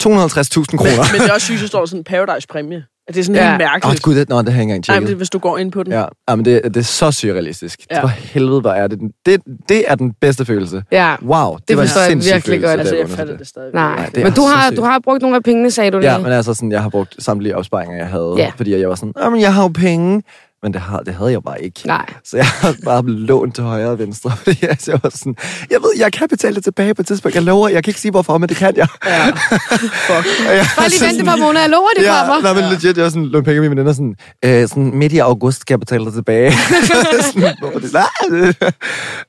Speaker 4: kroner.
Speaker 3: Men det er også sygt, at der står sådan en paradise-præmie. At det er sådan
Speaker 1: Ja.
Speaker 3: ja. helt
Speaker 4: Åh, oh,
Speaker 3: mærkeligt.
Speaker 4: gud, det, nå, det har jeg ikke engang
Speaker 3: Nej,
Speaker 4: tjekket.
Speaker 3: men det, er, hvis du går ind på
Speaker 1: Mm.
Speaker 3: den.
Speaker 4: Ja, ja men det, det er så surrealistisk.
Speaker 3: Ja.
Speaker 4: Ja. For helvede, hvor er det, den- det... Det er den bedste følelse.
Speaker 1: Ja.
Speaker 4: Wow, det,
Speaker 1: Det
Speaker 4: var en
Speaker 1: forstår jeg
Speaker 4: sindssyg
Speaker 1: virkelig
Speaker 4: følelse,
Speaker 1: godt.
Speaker 4: da
Speaker 3: Altså, jeg
Speaker 4: vågnede
Speaker 3: fatter
Speaker 4: til
Speaker 3: det stadig.
Speaker 1: Nej.
Speaker 4: Nej, det er
Speaker 1: men du
Speaker 4: så
Speaker 1: har,
Speaker 4: sygt.
Speaker 1: du har brugt nogle af pengene, sagde du
Speaker 4: Ja,
Speaker 1: lige.
Speaker 4: men altså sådan, jeg har brugt samtlige opsparinger, jeg havde,
Speaker 1: Ja.
Speaker 4: yeah. fordi jeg var sådan, "Åh, men jeg har jo penge, men det, har, det havde jeg jo bare ikke.
Speaker 1: Nej.
Speaker 4: Så jeg har bare lånt til højre og venstre, fordi altså, jeg var sådan, jeg ved, jeg kan betale det tilbage på et tidspunkt, jeg lover, jeg kan ikke sige hvorfor, men det kan jeg.
Speaker 3: Ja. Fuck.
Speaker 4: Og jeg
Speaker 1: Bare lige
Speaker 4: var
Speaker 1: vente
Speaker 4: sådan-
Speaker 1: et par måneder, jeg lover, det kommer.
Speaker 4: nej, men legit, jeg har sådan lånt penge af mine veninder, sådan, øh, sådan midt i august skal jeg betale dig tilbage. sådan, hvor det, nej, det,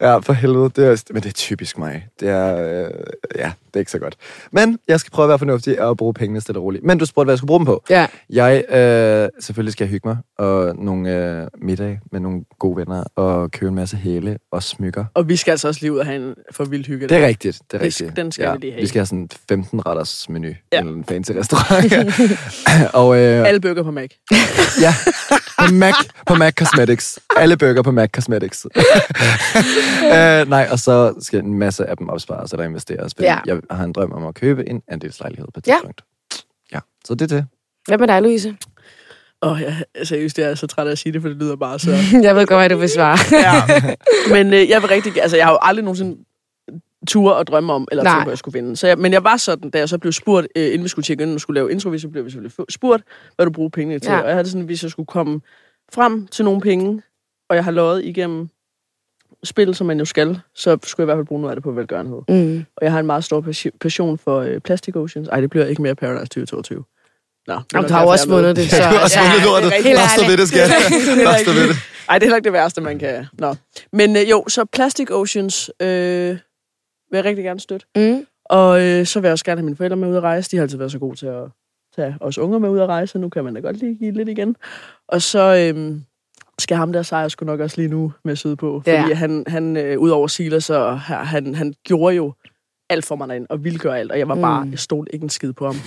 Speaker 4: ja, for helvede, det er, men det er typisk mig. Det er, øh, ja, det er ikke så godt. Men jeg skal prøve at være fornuftig og bruge pengene stille og roligt. Men du spurgte, hvad jeg skulle bruge dem på.
Speaker 1: Ja.
Speaker 4: Jeg, øh, selvfølgelig skal jeg hygge mig, og nogle øh, middag med nogle gode venner, og købe en masse hæle og smykker.
Speaker 3: Og vi skal altså også lige ud og have en for vild hygge.
Speaker 4: Det er rigtigt, det er
Speaker 3: Det sk-
Speaker 4: rigtigt.
Speaker 3: den skal vi lige have.
Speaker 4: Vi skal have sådan en 15-retters menu
Speaker 3: Ja.
Speaker 4: ja. i en fancy restaurant. og, øh,
Speaker 3: Alle bøger på Mac.
Speaker 4: Ja, på Mac, på Mac Cosmetics. Alle burger på Mac Cosmetics. uh, nej, og så skal en masse af dem opspares eller investeres. Fordi
Speaker 1: Ja.
Speaker 4: ja. Jeg har en drøm om at købe en andelslejlighed på et
Speaker 1: Ja.
Speaker 4: tidspunkt. Ja, så det er det.
Speaker 1: Hvad med dig, Louise?
Speaker 3: Åh, ja, seriøst, jeg er så træt af at sige det, for det lyder bare så...
Speaker 1: Jeg ved godt, hvad du vil svare.
Speaker 3: Ja. men øh, jeg vil rigtig... Altså, jeg har jo aldrig nogensinde tur og drømme om, eller
Speaker 1: Nej.
Speaker 3: tænkt, hvor jeg skulle vinde. Så jeg, men jeg var sådan, da jeg så blev spurgt, øh, inden vi skulle tjekke ind, og skulle lave intro, så blev vi selvfølgelig fu- spurgt, hvad du bruger pengene til.
Speaker 1: Ja.
Speaker 3: Ja. Og jeg havde det sådan, hvis jeg skulle komme frem til nogle penge, og jeg har lovet igennem spil, som man jo skal, så skulle jeg i hvert fald bruge noget af det på velgørenhed.
Speaker 1: Mm.
Speaker 3: Og jeg har en meget stor passi- passion for øh, Plastic Oceans. Ej, det bliver ikke mere Paradise 2022. Nå, det er
Speaker 1: Jamen,
Speaker 3: nok
Speaker 1: du har jo
Speaker 3: derfor,
Speaker 1: også
Speaker 3: jeg er med.
Speaker 1: vundet det. Så,
Speaker 4: Du har også
Speaker 1: ja,
Speaker 4: vundet
Speaker 1: det er
Speaker 4: lortet.
Speaker 1: rigtigt.
Speaker 4: Bare stå ved det, skat. Bare stå ved det.
Speaker 3: Ej, det er heller ikke det værste, man kan... Nå. Men øh, jo, så Plastic Oceans øh, vil jeg rigtig gerne støtte.
Speaker 1: Mm.
Speaker 3: Og øh, så vil jeg også gerne have mine forældre med ud at rejse. De har altid været så gode til at tage os unger med ud at rejse, og nu kan man da godt lige give lidt igen. Og så øh, skal ham der sejre sgu nok også lige nu med syd på. Fordi
Speaker 1: Ja.
Speaker 3: han, han øh, udover Silas, så har- han, han gjorde jo alt for mig derinde, og ville gøre alt, og jeg var bare,
Speaker 1: Mm.
Speaker 3: jeg stod ikke en skid på ham.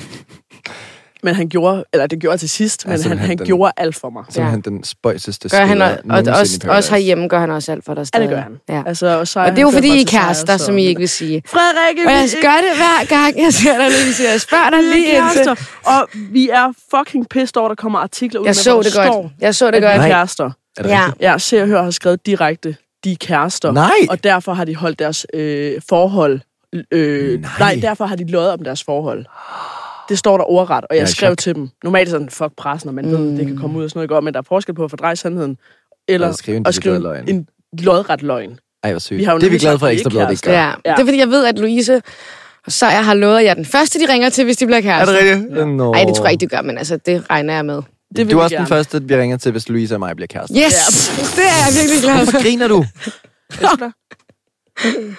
Speaker 3: Men han gjorde, eller det gjorde jeg til sidst,
Speaker 4: Ja,
Speaker 3: men han,
Speaker 4: simpelthen
Speaker 3: han
Speaker 4: den-
Speaker 3: gjorde alt for mig.
Speaker 4: Simpelthen den spøjseste
Speaker 1: Gør
Speaker 4: spiller
Speaker 1: han, og, og
Speaker 4: nogensinde i
Speaker 1: også, også
Speaker 4: Paradise.
Speaker 1: herhjemme gør han også alt for dig
Speaker 3: Ja,
Speaker 1: stadig.
Speaker 3: det gør han.
Speaker 1: Ja.
Speaker 3: Altså, og, så
Speaker 1: Og det er jo fordi, I er kærester, som I ikke vil sige.
Speaker 3: Frederikke,
Speaker 1: Og
Speaker 3: vi
Speaker 1: jeg gør det hver gang, jeg ser dig, Louise. Jeg spørger dig lige
Speaker 3: er
Speaker 1: indtil.
Speaker 3: kærester. Og vi er fucking pissed over, der kommer artikler ud
Speaker 1: Jeg
Speaker 3: med,
Speaker 1: så
Speaker 3: hvor der
Speaker 1: det godt.
Speaker 3: står,
Speaker 1: Jeg så det
Speaker 3: at
Speaker 1: godt.
Speaker 3: vi er
Speaker 4: Nej.
Speaker 3: kærester.
Speaker 4: Er det
Speaker 1: Ja.
Speaker 4: rigtigt?
Speaker 3: Ja, Se og Hør har skrevet direkte, de er kærester.
Speaker 4: Nej!
Speaker 3: Og derfor har de holdt deres øh, forhold... Øh, nej.
Speaker 4: Nej.
Speaker 3: nej, derfor har de løjet om deres forhold. Det står der ordret, og jeg,
Speaker 4: er i
Speaker 3: jeg skrev
Speaker 4: chok.
Speaker 3: til dem. Normalt er sådan, fuck pressen, og man mm. ved, det kan komme ud og sådan noget, ikke? Og- men der er forskel på at fordreje sandheden, eller
Speaker 4: Og at skrive en
Speaker 3: at skrive
Speaker 4: decideret løgn.
Speaker 3: en lodret løgn.
Speaker 4: Ej, hvor sygt.
Speaker 3: Vi har jo
Speaker 4: det er vi
Speaker 3: nemlig
Speaker 4: glade
Speaker 3: sagt,
Speaker 4: for,
Speaker 3: at
Speaker 4: at
Speaker 3: vi
Speaker 4: ekstra
Speaker 3: ikke
Speaker 4: bladet ikke gør.
Speaker 1: Ja.
Speaker 3: Ja.
Speaker 1: Det er fordi, jeg ved, at Louise og så jeg har lovet, at jeg er den første, de ringer til, hvis de bliver
Speaker 4: Er det
Speaker 1: kærester.
Speaker 4: rigtigt? Ja. No.
Speaker 1: Nej, altså. det tror jeg ikke, du gør, men altså, det regner jeg med.
Speaker 3: Det vil
Speaker 4: du er
Speaker 3: vi
Speaker 4: også den
Speaker 3: gerne.
Speaker 4: første, vi ringer til, hvis Louise og mig bliver kærester.
Speaker 1: Yes!
Speaker 3: Ja.
Speaker 1: Det er jeg virkelig glad for.
Speaker 4: Hvorfor griner du?
Speaker 3: Elsker dig.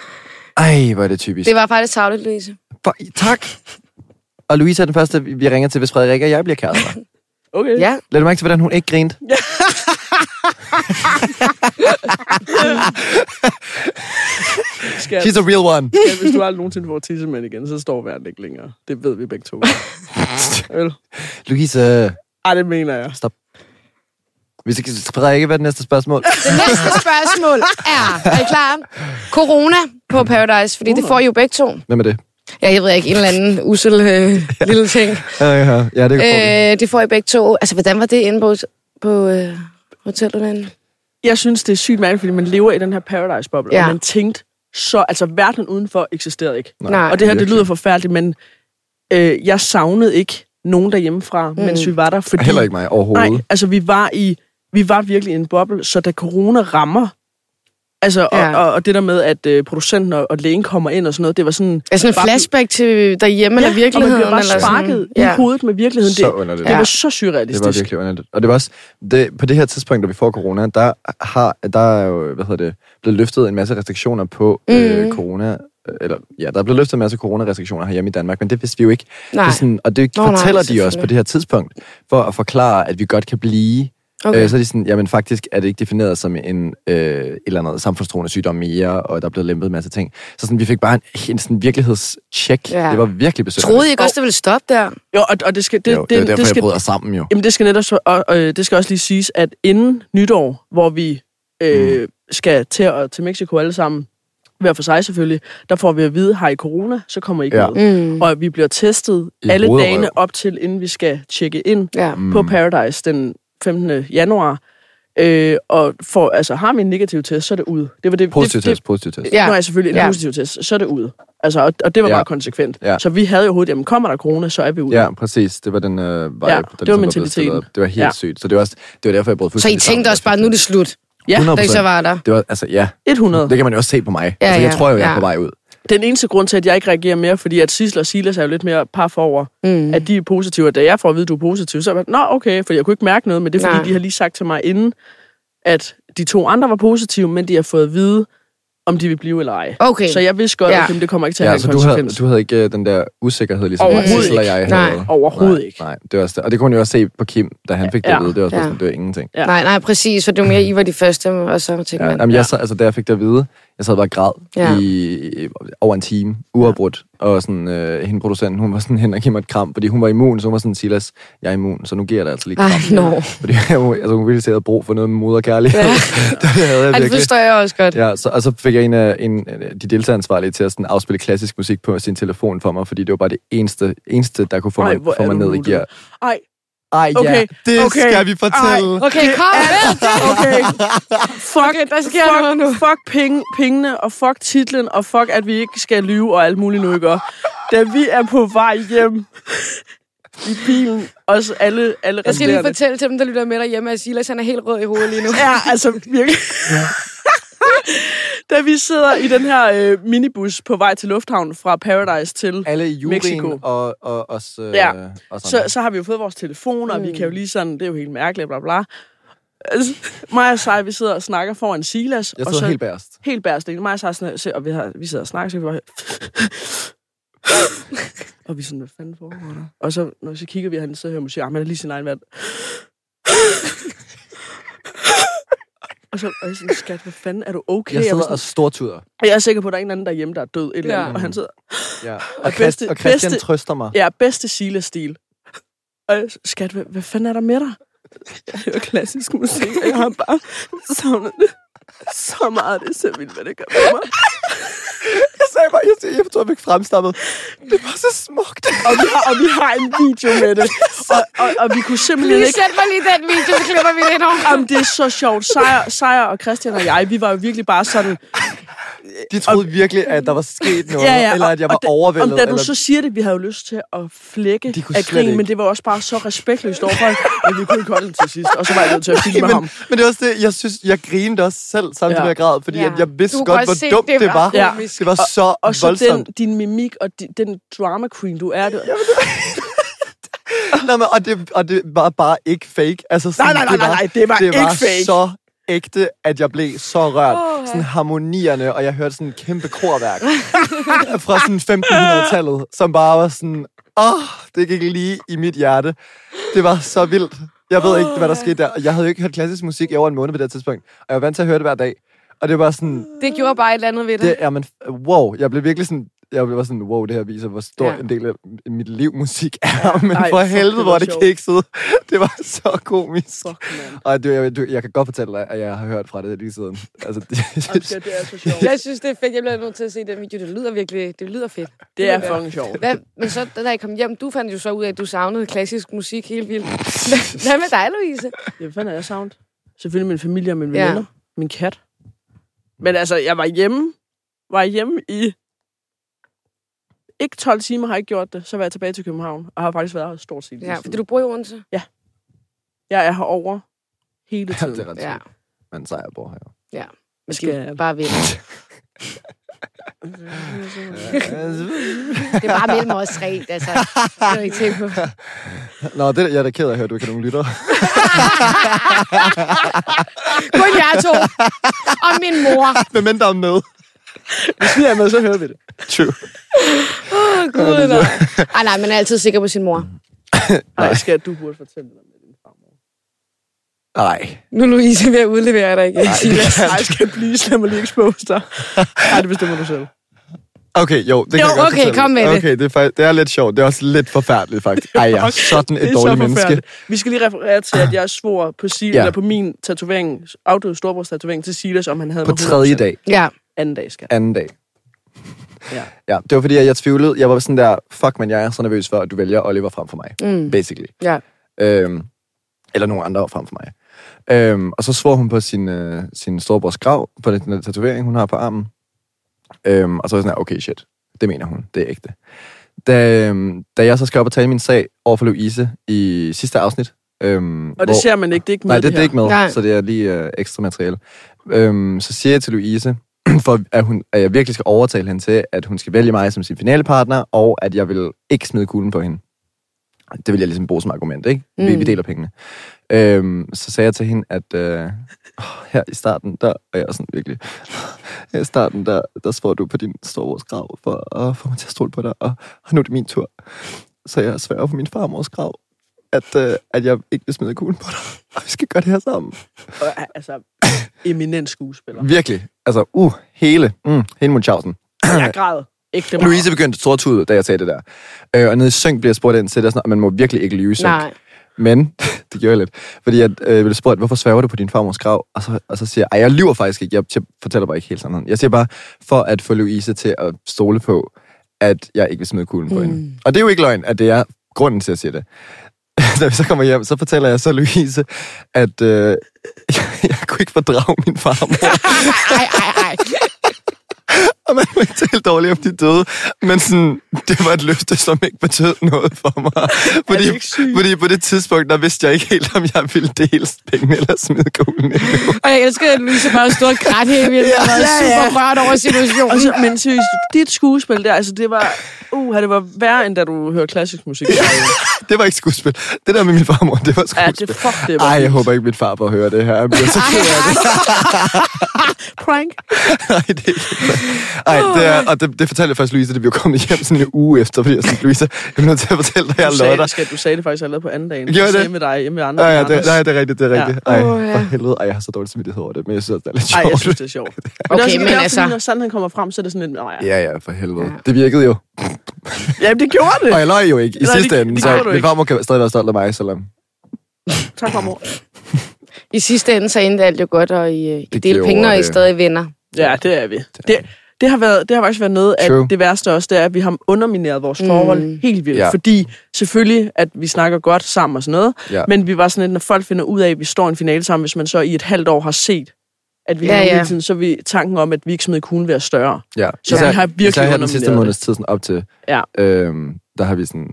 Speaker 4: Ej, hvor er det typisk.
Speaker 1: Det var faktisk tavlet, Louise.
Speaker 4: For, tak. Og Louise er den første, vi ringer til, hvis Frederik og jeg bliver kærester.
Speaker 3: Okay.
Speaker 1: Ja.
Speaker 4: Lad du mærke til, hvordan hun ikke grinte?
Speaker 3: Skat.
Speaker 4: She's a real one.
Speaker 3: Ja, hvis du aldrig nogensinde får tissemænd igen, så står verden ikke længere. Det ved vi begge to. Vel?
Speaker 4: Louise, øh,
Speaker 3: Ej, det mener jeg.
Speaker 4: hvis ikke, Frederik, hvad er det næste spørgsmål?
Speaker 1: Det næste spørgsmål er, er I klar? Corona på Paradise, fordi det
Speaker 3: Uh.
Speaker 1: får I jo begge to.
Speaker 4: Hvem er det?
Speaker 1: Ja, jeg ved ikke, en eller anden usel øh, lille ting.
Speaker 4: Ja, ja, ja det er øh,
Speaker 1: Øh, det får I begge to. Altså, hvordan var det inde på, på øh, hotellet derinde?
Speaker 3: Jeg synes, det er sygt mærkeligt, fordi man lever i den her paradise-boble,
Speaker 1: Ja.
Speaker 3: og man tænkte så... Altså, verden udenfor eksisterede ikke.
Speaker 1: Nej.
Speaker 3: Og det her, det lyder forfærdeligt, men øh, jeg savnede ikke nogen derhjemmefra, mm. mens vi var der, fordi...
Speaker 4: Heller ikke mig overhovedet.
Speaker 3: Nej, altså, vi var, i, vi var virkelig i en boble, så da corona rammer... Altså,
Speaker 1: Ja.
Speaker 3: ja. og, og, og det der med, at øh, producenten og, og lægen kommer ind og sådan noget, det var sådan...
Speaker 1: Er sådan en
Speaker 3: Bare-
Speaker 1: flashback til derhjemme eller virkeligheden?
Speaker 3: og man bliver bare
Speaker 1: eller sådan-
Speaker 3: sparket i
Speaker 1: ja.
Speaker 3: hovedet med virkeligheden.
Speaker 4: Så
Speaker 3: det,
Speaker 4: underligt.
Speaker 3: det
Speaker 1: Ja.
Speaker 3: var så surrealistisk.
Speaker 4: Det var virkelig underligt. Og det var også, det, på det her tidspunkt, da vi får corona, der, har, der er jo, hvad hedder det, blevet løftet en masse restriktioner på mm. øh, corona eller, ja, der er blevet løftet en masse coronarestriktioner herhjemme i Danmark, men det vidste vi jo ikke.
Speaker 1: Nej.
Speaker 4: Det er sådan, og det
Speaker 1: Nå,
Speaker 4: Nå,
Speaker 1: nej,
Speaker 4: fortæller nej, de også
Speaker 1: selvfølgelig.
Speaker 4: på det her tidspunkt, for at forklare, at vi godt kan blive.
Speaker 1: Okay.
Speaker 4: Okay. Øh, så er de sådan, jamen faktisk er det ikke defineret som en øh, et eller andet samfundstroende sygdom mere, og der er blevet lempet en masse ting. Så sådan, vi fik bare en, en sådan virkelighedscheck.
Speaker 1: Ja.
Speaker 4: Ja. Det var virkelig besøgende.
Speaker 1: Troede I ikke også, det ville stoppe der?
Speaker 3: Jo, og, og det skal... Det,
Speaker 4: jo, det, det, var derfor,
Speaker 3: det
Speaker 4: jeg
Speaker 3: skal,
Speaker 4: bryder sammen jo.
Speaker 3: Jamen, det skal netop så, og, øh, det skal også lige siges, at inden nytår, hvor vi øh,
Speaker 4: Mm.
Speaker 3: skal til, at, til Mexico alle sammen, hver for sig selvfølgelig, der får vi at vide, har I corona, så kommer I ikke
Speaker 4: Ja.
Speaker 3: ja. med.
Speaker 1: Mm.
Speaker 3: Og vi bliver testet
Speaker 4: I
Speaker 3: alle
Speaker 4: hovedrøv.
Speaker 3: dagene op til, inden vi skal tjekke ind
Speaker 1: Ja.
Speaker 3: mm. på Paradise den 15. januar. Øh, og for, altså, har vi en negativ test, så er det ud. Det var det,
Speaker 4: Positiv
Speaker 3: det, det,
Speaker 4: test, positiv test.
Speaker 1: Ja.
Speaker 3: Ja. Nu er jeg selvfølgelig en
Speaker 1: Ja.
Speaker 3: ja. positiv test, så er det ud. Altså, og, og det var ja.
Speaker 4: Ja.
Speaker 3: meget konsekvent.
Speaker 4: Ja.
Speaker 3: Ja. Så vi havde jo hovedet, jamen kommer der corona, så er vi ude.
Speaker 4: Ja, præcis. Det var den øh, vibe, ja, der
Speaker 3: det var
Speaker 4: blevet
Speaker 3: mentaliteten.
Speaker 4: stillet op. Det var helt ja.
Speaker 3: Ja.
Speaker 4: sygt. Så det var, også, det var derfor, jeg brød
Speaker 1: Så I
Speaker 4: fuldstændig
Speaker 1: tænkte også bare, nu er det slut,
Speaker 3: Ja,
Speaker 1: da I så var der?
Speaker 4: Det var, altså, ja.
Speaker 3: 100.
Speaker 4: Det kan man jo også se på mig.
Speaker 1: Ja,
Speaker 4: Ja, altså, jeg
Speaker 1: ja,
Speaker 4: tror jo, jeg er
Speaker 1: ja.
Speaker 4: på vej ud.
Speaker 3: Den eneste grund til, at jeg ikke reagerer mere, fordi at Sisler og Silas er jo lidt mere par forover,
Speaker 1: Mm.
Speaker 3: mm. at de er positive, og da jeg får at vide, at du er positiv, så er jeg bare, nå okay, for jeg kunne ikke mærke noget, men det er fordi,
Speaker 1: Nej.
Speaker 3: Nej. de har lige sagt til mig inden, at de to andre var positive, men de har fået at vide, om de vil blive eller ej.
Speaker 1: Okay.
Speaker 3: Så jeg vidste godt,
Speaker 1: Ja.
Speaker 3: at jamen, det kommer ikke til at ja,
Speaker 4: Ja,
Speaker 3: have
Speaker 4: så
Speaker 3: en
Speaker 4: du havde,
Speaker 3: konsekvens.
Speaker 4: du havde ikke øh, den der usikkerhed, ligesom
Speaker 3: Overhovedet
Speaker 4: Sissel og
Speaker 3: ikke.
Speaker 4: jeg
Speaker 1: Nej.
Speaker 4: havde.
Speaker 3: Overhovedet
Speaker 4: nej,
Speaker 3: ikke.
Speaker 4: Nej, det var også det. Og det kunne man jo også se på Kim, da han fik det
Speaker 3: Ja.
Speaker 4: at vide. Det var også
Speaker 1: Ja.
Speaker 4: ja. sådan, det var ingenting.
Speaker 3: Ja.
Speaker 1: Nej, nej, præcis. Så det var mere, I var de første, og så tænkte
Speaker 4: Ja,
Speaker 1: man...
Speaker 4: jamen, jeg sad, altså, da jeg fik det at vide, jeg sad bare og græd
Speaker 1: Ja.
Speaker 4: ja. i, over en time, uafbrudt. Og sådan, øh, hende producenten, hun var sådan hen og giv mig et kram, fordi hun var immun, så hun var sådan, Silas, jeg er immun, så nu giver jeg dig altså lige et
Speaker 1: Nej,
Speaker 4: kram.
Speaker 1: nå.
Speaker 4: Fordi jeg, altså, hun ville sige, at jeg havde brug for noget med moderkærlighed.
Speaker 1: Ja.
Speaker 4: Ja. det havde jeg
Speaker 1: Ej, det
Speaker 4: virkelig.
Speaker 1: forstår jeg også godt.
Speaker 4: Ja, så, og så fik jeg en af en, af de deltageransvarlige til at sådan afspille klassisk musik på sin telefon for mig, fordi det var bare det eneste, eneste der kunne få mig,
Speaker 3: Ej, hvor
Speaker 4: få
Speaker 3: er
Speaker 4: mig
Speaker 3: du
Speaker 4: ned i
Speaker 3: nuttet.
Speaker 4: gear.
Speaker 3: Ej,
Speaker 4: Ej,
Speaker 3: ja, Okay,
Speaker 4: det
Speaker 3: okay. skal vi fortælle.
Speaker 1: Okay, kom med!
Speaker 3: okay. Fuck,
Speaker 1: Okay, der sker
Speaker 3: fuck,
Speaker 1: noget nu.
Speaker 3: Fuck penge, pengene, og fuck titlen, og fuck, at vi ikke skal lyve og alt muligt nu, ikke? Og Da vi er på vej hjem i bilen, os alle, alle
Speaker 1: Jeg skal lige
Speaker 3: resterende.
Speaker 1: fortælle til dem, der lytter med derhjemme, at Silas han er helt rød i hovedet lige nu.
Speaker 3: Ja, altså virkelig. da vi sidder i den her øh, minibus på vej til Lufthavn fra Paradise til...
Speaker 4: Alle i
Speaker 3: Mexico.
Speaker 4: juryen og, og os, øh,
Speaker 3: Ja.
Speaker 4: os
Speaker 3: Så,
Speaker 4: andre.
Speaker 3: så har vi jo fået vores telefoner,
Speaker 1: Mm.
Speaker 3: og vi kan jo lige sådan... Det er jo helt mærkeligt, bla bla. Altså, mig og Sej, vi sidder og snakker foran Silas.
Speaker 4: Jeg
Speaker 3: og
Speaker 4: stod
Speaker 3: så,
Speaker 4: helt bærst.
Speaker 3: helt bærest ene. Mig og Sarsen, er- og vi, har, vi sidder og snakker, så kan vi bare... og vi er sådan, hvad fanden foregår der? Og så, når så kigger vi, og han sidder og hører musik, og han er lige sin egen vand. og så og jeg sådan, skat, hvad fanden, er du okay?
Speaker 4: Jeg
Speaker 3: Jeg,
Speaker 4: sidder
Speaker 3: sådan,
Speaker 4: og stortuder.
Speaker 3: og jeg er sikker på, at der er en eller anden derhjemme, der er død. Et eller
Speaker 1: Ja.
Speaker 3: andet, og han sidder,
Speaker 4: Ja.
Speaker 3: Og
Speaker 4: Og, Christ,
Speaker 3: bedste-
Speaker 4: og Christian
Speaker 3: bedste-
Speaker 4: trøster mig.
Speaker 3: ja, bedste Silas-stil. Og jeg, skat, hvad, hvad fanden er der med dig? Jeg hører klassisk musik, og jeg har bare savnet det så meget. Det er så vildt, hvad det gør for mig.
Speaker 4: Jeg sagde bare, jeg, jeg tror, jeg fik fremstammet. Det var så smukt.
Speaker 3: og vi har, og vi har en video med det. Og, og, og vi kunne simpelthen
Speaker 1: Lige
Speaker 3: ikke...
Speaker 1: sæt mig lige den video, så klipper vi det ind over.
Speaker 3: Jamen, det er så sjovt. Sejr, Sejr og Christian og jeg, vi var jo virkelig bare sådan...
Speaker 4: De troede virkelig, at der var sket noget, eller at jeg var
Speaker 3: og da-
Speaker 4: overvældet.
Speaker 3: Og da du
Speaker 4: eller...
Speaker 3: så siger det, vi havde jo lyst til at flække
Speaker 4: De kunne
Speaker 3: af
Speaker 4: slet
Speaker 3: grin, men
Speaker 4: ikke.
Speaker 3: det var også bare så respektløst overfor, at vi kunne ikke holde den til sidst. Og så var jeg nødt til at filme
Speaker 4: men,
Speaker 3: ham.
Speaker 4: men det er også det, jeg synes, jeg grinede også selv
Speaker 3: Ja.
Speaker 4: samtidig ja. med at jeg græd, fordi
Speaker 1: Ja.
Speaker 4: ja. jeg, jeg vidste
Speaker 1: Du kunne
Speaker 4: godt,
Speaker 1: godt se,
Speaker 4: hvor dumt
Speaker 1: det
Speaker 4: det,
Speaker 1: var
Speaker 4: var.
Speaker 3: Ja.
Speaker 4: Det var så
Speaker 3: Og så den,
Speaker 4: voldsomt.
Speaker 3: din mimik og di, den drama queen, du er. Du,
Speaker 4: Den... Nej, men, og, det, og det var bare ikke fake. Altså, sådan,
Speaker 3: Nej, nej, nej,
Speaker 4: det var,
Speaker 3: nej, nej, det var
Speaker 4: det
Speaker 3: ikke
Speaker 4: var
Speaker 3: fake.
Speaker 4: så ægte, at jeg blev så rørt.
Speaker 1: Åh,
Speaker 4: Oh, sådan harmonierne, og jeg hørte sådan en kæmpe korværk fra sådan 1500-tallet, som bare var sådan, åh, oh, det gik lige i mit hjerte. Det var så vildt. Jeg ved ikke, hvad der skete der. Og Jeg havde jo ikke hørt klassisk musik i over en måned på det her tidspunkt, og jeg var vant til at høre det hver dag. Og det var sådan,
Speaker 1: Det gjorde bare et eller andet ved dig.
Speaker 4: det er, men wow, jeg blev virkelig sådan, jeg blev bare sådan, wow, det her viser, hvor stor
Speaker 1: Ja.
Speaker 4: ja. en del af mit liv musik er. Men
Speaker 3: Ej,
Speaker 4: Ej, for
Speaker 3: fuck, det
Speaker 4: helvede,
Speaker 3: var
Speaker 4: hvor det
Speaker 3: sjovt.
Speaker 4: kiksede. Det var så komisk.
Speaker 3: fuck, man.
Speaker 4: Og du, jeg, du, jeg kan godt fortælle dig, at jeg har hørt fra det lige siden. Altså, det,
Speaker 3: Jamen, skat, det er så sjovt.
Speaker 1: Jeg synes, det er fedt. Jeg bliver nødt til at se den video. Det lyder virkelig det lyder fedt.
Speaker 3: Det er fucking sjovt.
Speaker 1: Hvad, men så, da I kom hjem, du fandt jo så ud af, at du savnede klassisk musik helt vildt. Hvad- Hvad med dig, Louise?
Speaker 3: Ja, Hvad fanden er jeg sound? Selvfølgelig min familie og mine
Speaker 1: Ja.
Speaker 3: veninder. Min kat. Men altså, jeg var hjemme. Var hjemme i... Ikke 12 timer har jeg ikke gjort det. Så var jeg tilbage til København. Og har faktisk været her stort set. lige
Speaker 1: Ja,
Speaker 3: siden.
Speaker 1: fordi du bor i Odense.
Speaker 3: Jeg er herovre hele
Speaker 4: det, det
Speaker 3: tiden.
Speaker 4: er ret
Speaker 1: Ja.
Speaker 4: ja. Man sejrer på her.
Speaker 1: Men
Speaker 3: Skal
Speaker 1: det er
Speaker 3: jeg-
Speaker 1: bare vel. Det er bare mellem os tre, altså. Det er jo ikke tænkt på.
Speaker 4: Nå, det, jeg er da ked af at høre, at du ikke har nogen lytter.
Speaker 1: Kun jer to. Og min mor.
Speaker 4: Hvem end der er med?
Speaker 3: Hvis vi er med, så hører vi det.
Speaker 4: True.
Speaker 1: Åh, oh, gud, nej. Ej, nej, man er altid sikker på sin mor.
Speaker 3: Nej, skat, du burde fortælle dig med din farmor.
Speaker 4: Nej.
Speaker 1: Nu, Louise, vil jeg udlevere dig igen.
Speaker 4: Nej, det kan
Speaker 3: Nej, skat, please, lad mig lige expose dig. Nej, det bestemmer du selv.
Speaker 4: Okay, jo, det kan
Speaker 1: Jo,
Speaker 4: jeg godt
Speaker 1: okay,
Speaker 4: fortælle.
Speaker 1: kom med det.
Speaker 4: Okay, det er, faktisk, det er lidt sjovt. Det er også lidt forfærdeligt, faktisk. Ej, jeg er sådan
Speaker 3: Det
Speaker 4: et
Speaker 3: er så
Speaker 4: dårligt menneske.
Speaker 3: forfærdeligt. Vi skal lige referere til, at jeg svor på, Silas,
Speaker 4: Ja.
Speaker 3: ja. eller på min tatovering, afdøde storbrors tatovering til Silas, om han havde
Speaker 4: På
Speaker 3: mig
Speaker 4: tredje
Speaker 3: 100%.
Speaker 4: dag,
Speaker 1: Ja.
Speaker 3: Anden dag, skat.
Speaker 4: anden dag.
Speaker 3: Ja.
Speaker 4: Ja, det var fordi, at jeg tvivlede. Jeg var sådan der, fuck, men jeg er så nervøs for, at du vælger Oliver frem for mig.
Speaker 1: Mm.
Speaker 4: Basically.
Speaker 1: Ja.
Speaker 4: Øhm, eller nogen andre frem for mig. Øhm, og så svor hun på sin, øh, sin storebrors grav, på den, den tatovering, hun har på armen. Øhm, og så var jeg sådan her, okay, shit. Det mener hun. Det er ægte. Da, øhm, da jeg så skal op og tale min sag over for Louise i sidste afsnit. Øhm,
Speaker 3: Og det ser man ikke, det er ikke med
Speaker 4: Nej, det, det er
Speaker 3: her.
Speaker 4: ikke med,
Speaker 1: Nej.
Speaker 4: Nej. så det er lige øh, ekstra materiale. Øhm, så siger jeg til Louise, for at, hun, at jeg virkelig skal overtale hende til, at hun skal vælge mig som sin finalepartner, og at jeg vil ikke smide kuglen på hende. Det vil jeg ligesom bruge som argument, ikke? Mm. Vi,
Speaker 1: Mm.
Speaker 4: vi deler pengene. Øhm, så sagde jeg til hende, at øh, åh, her i starten, der er jeg sådan virkelig... Her i starten, der, der spår du på din storebrors grav for at få mig til at stole på dig, og, og nu er det min tur. Så jeg sværger på min farmors grav, at, øh, at jeg ikke vil smide kuglen på dig, og vi skal gøre det her sammen.
Speaker 3: Og, altså, eminent skuespiller.
Speaker 4: Virkelig. Altså, uh, hele, mm, hele Munchausen.
Speaker 3: Jeg græd. Ægte meget.
Speaker 4: Louise begyndte stortude, da jeg sagde det der. Øh, og nede i Søng bliver jeg spurgt ind til det, og sådan, og man må virkelig ikke lyve i Søng.
Speaker 1: Nej.
Speaker 4: Men, det gjorde jeg lidt, fordi jeg øh, blev spurgt, hvorfor sværger du på din farmors grav? Og så, og så siger jeg, "Ej, jeg lyver faktisk ikke, jeg tæ- fortæller bare ikke helt sandheden. Jeg siger bare, for at få Louise til at stole på, at jeg ikke vil smide kuglen på mm. hende. Og det er jo ikke løgn, at det er grunden til, at jeg siger det. da vi så kommer hjem, så fortæller jeg så Louise, at øh, jeg, jeg kunne ikke fordrage min farmor.
Speaker 1: Ej, ej, ej.
Speaker 4: Og man må ikke tale dårligt om de døde, men sådan, det var et løfte, som ikke betød noget for mig. Fordi,
Speaker 3: ikke sygt?
Speaker 4: fordi på det tidspunkt, der vidste jeg ikke helt, om jeg ville dele pengene eller smide kuglen i løbet.
Speaker 1: Og jeg elsker, at Louise bare stod og græd hele vildt. Jeg var
Speaker 3: Ja, ja.
Speaker 1: super rørt over situationen.
Speaker 3: Og så, men seriøst, dit skuespil der, altså det var... Uh, det var værre, end da du hører klassisk musik.
Speaker 4: Det var ikke skuespil. Det der med min farmor, det var
Speaker 3: Ja,
Speaker 4: skuespil.
Speaker 3: det fuck det var.
Speaker 4: Ej, jeg håber ikke, min far får høre det her. Jeg bliver
Speaker 1: Ah,
Speaker 4: så ked af det.
Speaker 3: Prank.
Speaker 4: Ej, det, er ikke- Ej, det er, og det, det fortalte jeg faktisk Louise, da vi var kommet hjem sådan en uge efter, fordi jeg sådan, Louise, jeg er nødt til at fortælle dig, jeg
Speaker 3: Du
Speaker 4: løjer
Speaker 3: sagde,
Speaker 4: dig.
Speaker 3: det, skat, du sagde det faktisk allerede på anden dagen.
Speaker 4: Gjorde
Speaker 3: jeg sagde
Speaker 4: det?
Speaker 3: med dig, hjemme med andre.
Speaker 4: Nej, ja,
Speaker 3: med
Speaker 4: det,
Speaker 3: Anders.
Speaker 4: nej, det er rigtigt, det er
Speaker 3: Ja.
Speaker 4: rigtigt. Ej,
Speaker 1: Åh, ja.
Speaker 4: for helvede. Ej, jeg har så dårlig samvittighed over det, men jeg synes, det er lidt sjovt.
Speaker 3: Ej, jeg synes, det er sjovt. Men
Speaker 1: Okay,
Speaker 3: også,
Speaker 1: men
Speaker 3: men
Speaker 1: altså-
Speaker 3: altså... Når sandheden kommer frem, så er det sådan lidt... Nej, ja.
Speaker 4: Ja, ja, for helvede.
Speaker 1: Ja.
Speaker 4: Ja. Det virkede jo.
Speaker 3: Jamen, det gjorde det.
Speaker 4: Og jeg løj jo ikke i
Speaker 3: Nej, det-
Speaker 4: sidste ende,
Speaker 3: det
Speaker 4: så
Speaker 3: gjorde du
Speaker 4: min
Speaker 3: ikke.
Speaker 4: farmor kan stadig være stolt af mig, selvom...
Speaker 3: Tak for mor.
Speaker 1: I sidste ende, så endte alt jo godt, og I, øh, I
Speaker 4: Det
Speaker 1: delte
Speaker 4: gjorde
Speaker 1: penge, og I
Speaker 4: det.
Speaker 1: stadig venner.
Speaker 3: Ja, det er vi. Det, det, har, været, det har faktisk været noget af
Speaker 4: True.
Speaker 3: det værste også, det er, at vi har undermineret vores forhold
Speaker 1: Mm.
Speaker 3: helt vildt.
Speaker 4: Ja.
Speaker 3: Fordi selvfølgelig, at vi snakker godt sammen og sådan noget,
Speaker 4: Ja.
Speaker 3: men vi var sådan lidt, når folk finder ud af, at vi står i en finale sammen, hvis man så i et halvt år har set, at vi
Speaker 1: Ja,
Speaker 3: ja,
Speaker 1: ja.
Speaker 3: hele tiden, så vil tanken om, at vi ikke smed kuglen ved at større.
Speaker 4: Ja.
Speaker 3: Så vi har virkelig
Speaker 4: især her den
Speaker 3: undermineret
Speaker 4: sidste
Speaker 3: det.
Speaker 4: måneds tid sådan op til,
Speaker 3: Ja.
Speaker 4: øhm, der har vi sådan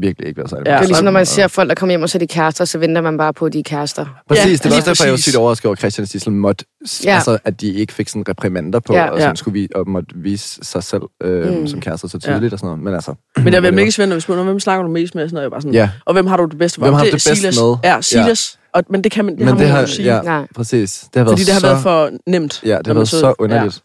Speaker 4: virkelig ikke været særlig
Speaker 1: Det
Speaker 3: Ja.
Speaker 1: er
Speaker 4: meget
Speaker 1: ligesom,
Speaker 4: sammen,
Speaker 1: når man
Speaker 4: og-
Speaker 1: ser folk, der kommer hjem, og så er de kærester, så venter man bare på, at de er kærester.
Speaker 3: Ja,
Speaker 4: Præcis, det var
Speaker 3: lige
Speaker 4: også derfor, jeg var
Speaker 3: præcis.
Speaker 4: sygt overrasket over, at Christian og Sissel måtte, s-
Speaker 1: Ja.
Speaker 4: altså, at de ikke fik sådan reprimander på,
Speaker 1: Ja.
Speaker 4: og sådan
Speaker 3: Ja.
Speaker 4: skulle vi, og måtte vise sig selv øhm,
Speaker 1: Mm.
Speaker 4: som kærester så tydeligt og sådan noget. Men altså,
Speaker 3: Men jeg
Speaker 4: whatever.
Speaker 3: vil mega svært, når vi spurgte, hvem snakker du mest med? Sådan noget, jeg var sådan,
Speaker 4: Ja.
Speaker 3: Og hvem har du det bedste for?
Speaker 4: Hvem har
Speaker 3: Det
Speaker 4: du det
Speaker 3: er
Speaker 4: bedst
Speaker 3: Silas.
Speaker 4: med?
Speaker 3: Ja, Silas. Og, men det kan man, det
Speaker 4: Men
Speaker 3: har
Speaker 4: det
Speaker 3: man jo
Speaker 4: har,
Speaker 3: ikke sige.
Speaker 4: ja,
Speaker 1: Nej.
Speaker 4: præcis. Det har været
Speaker 3: Fordi det har
Speaker 4: så
Speaker 3: været for nemt.
Speaker 4: Ja, det
Speaker 3: når
Speaker 4: har
Speaker 3: man
Speaker 4: været
Speaker 3: sidder-
Speaker 4: så underligt. Ja.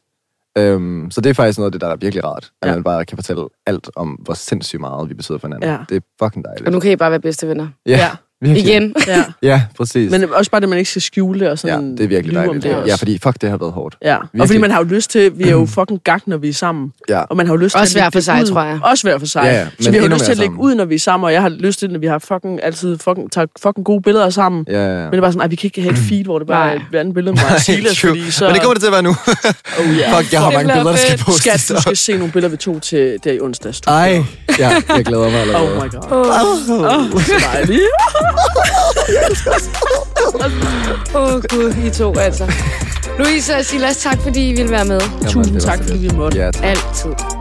Speaker 4: Øhm, så det er faktisk noget af det, der er virkelig rart,
Speaker 3: Ja.
Speaker 4: at ja. man bare kan fortælle alt om, hvor sindssygt meget vi betyder for hinanden.
Speaker 3: Ja.
Speaker 4: Det er fucking
Speaker 1: Og
Speaker 4: dejligt.
Speaker 1: nu kan I bare være bedste venner.
Speaker 4: Ja,
Speaker 3: Ja.
Speaker 4: virkelig.
Speaker 1: Igen.
Speaker 3: Ja. ja.
Speaker 4: Ja, præcis. Men,
Speaker 3: Men også bare det, man ikke skal skjule det og sådan
Speaker 4: ja, det er virkelig
Speaker 3: lyve om
Speaker 4: dejligt.
Speaker 3: Det også.
Speaker 4: Ja, fordi fuck, det har været hårdt.
Speaker 3: Ja, og fordi
Speaker 4: Virkelig. Mm.
Speaker 3: man har jo lyst til, vi er jo fucking gak, når vi er sammen.
Speaker 4: Ja.
Speaker 3: Og man har jo lyst
Speaker 1: Også
Speaker 3: til
Speaker 1: hver
Speaker 3: lægge
Speaker 1: for
Speaker 3: det
Speaker 1: sig,
Speaker 3: ud.
Speaker 1: tror jeg.
Speaker 3: Også hver for sig.
Speaker 4: Ja, ja,
Speaker 3: så
Speaker 4: men
Speaker 3: vi har jo
Speaker 4: endnu
Speaker 3: lyst til
Speaker 4: mere
Speaker 3: at lægge
Speaker 4: sammen.
Speaker 3: ud, når vi er sammen, og jeg har lyst til, at vi har fucking altid fucking, tager fucking gode billeder sammen.
Speaker 4: Ja, ja.
Speaker 3: Men det er bare sådan, nej, vi kan ikke have et feed, hvor det bare
Speaker 1: Nej.
Speaker 3: er et andet billede med mig og Silas,
Speaker 4: True.
Speaker 3: fordi så...
Speaker 4: Men det kommer det til at være nu. oh, yeah. Fuck, jeg har
Speaker 1: Det
Speaker 4: mange
Speaker 1: bliver
Speaker 4: billeder, der skal
Speaker 1: fedt.
Speaker 4: postes.
Speaker 3: Skat, du skal se nogle billeder, vi tog til der i onsdags. Du.
Speaker 4: Ej, ja, jeg glæder
Speaker 3: Oh
Speaker 4: mig allerede.
Speaker 3: my god. Åh, oh, så dejligt.
Speaker 1: Åh oh, gud, I to altså. Louise og Silas, tak fordi I ville være med.
Speaker 4: Jamen, det
Speaker 3: Tusind
Speaker 4: var
Speaker 3: tak,
Speaker 4: så
Speaker 3: fordi vi
Speaker 4: lidt.
Speaker 3: måtte.
Speaker 4: Ja, tak.
Speaker 1: Altid.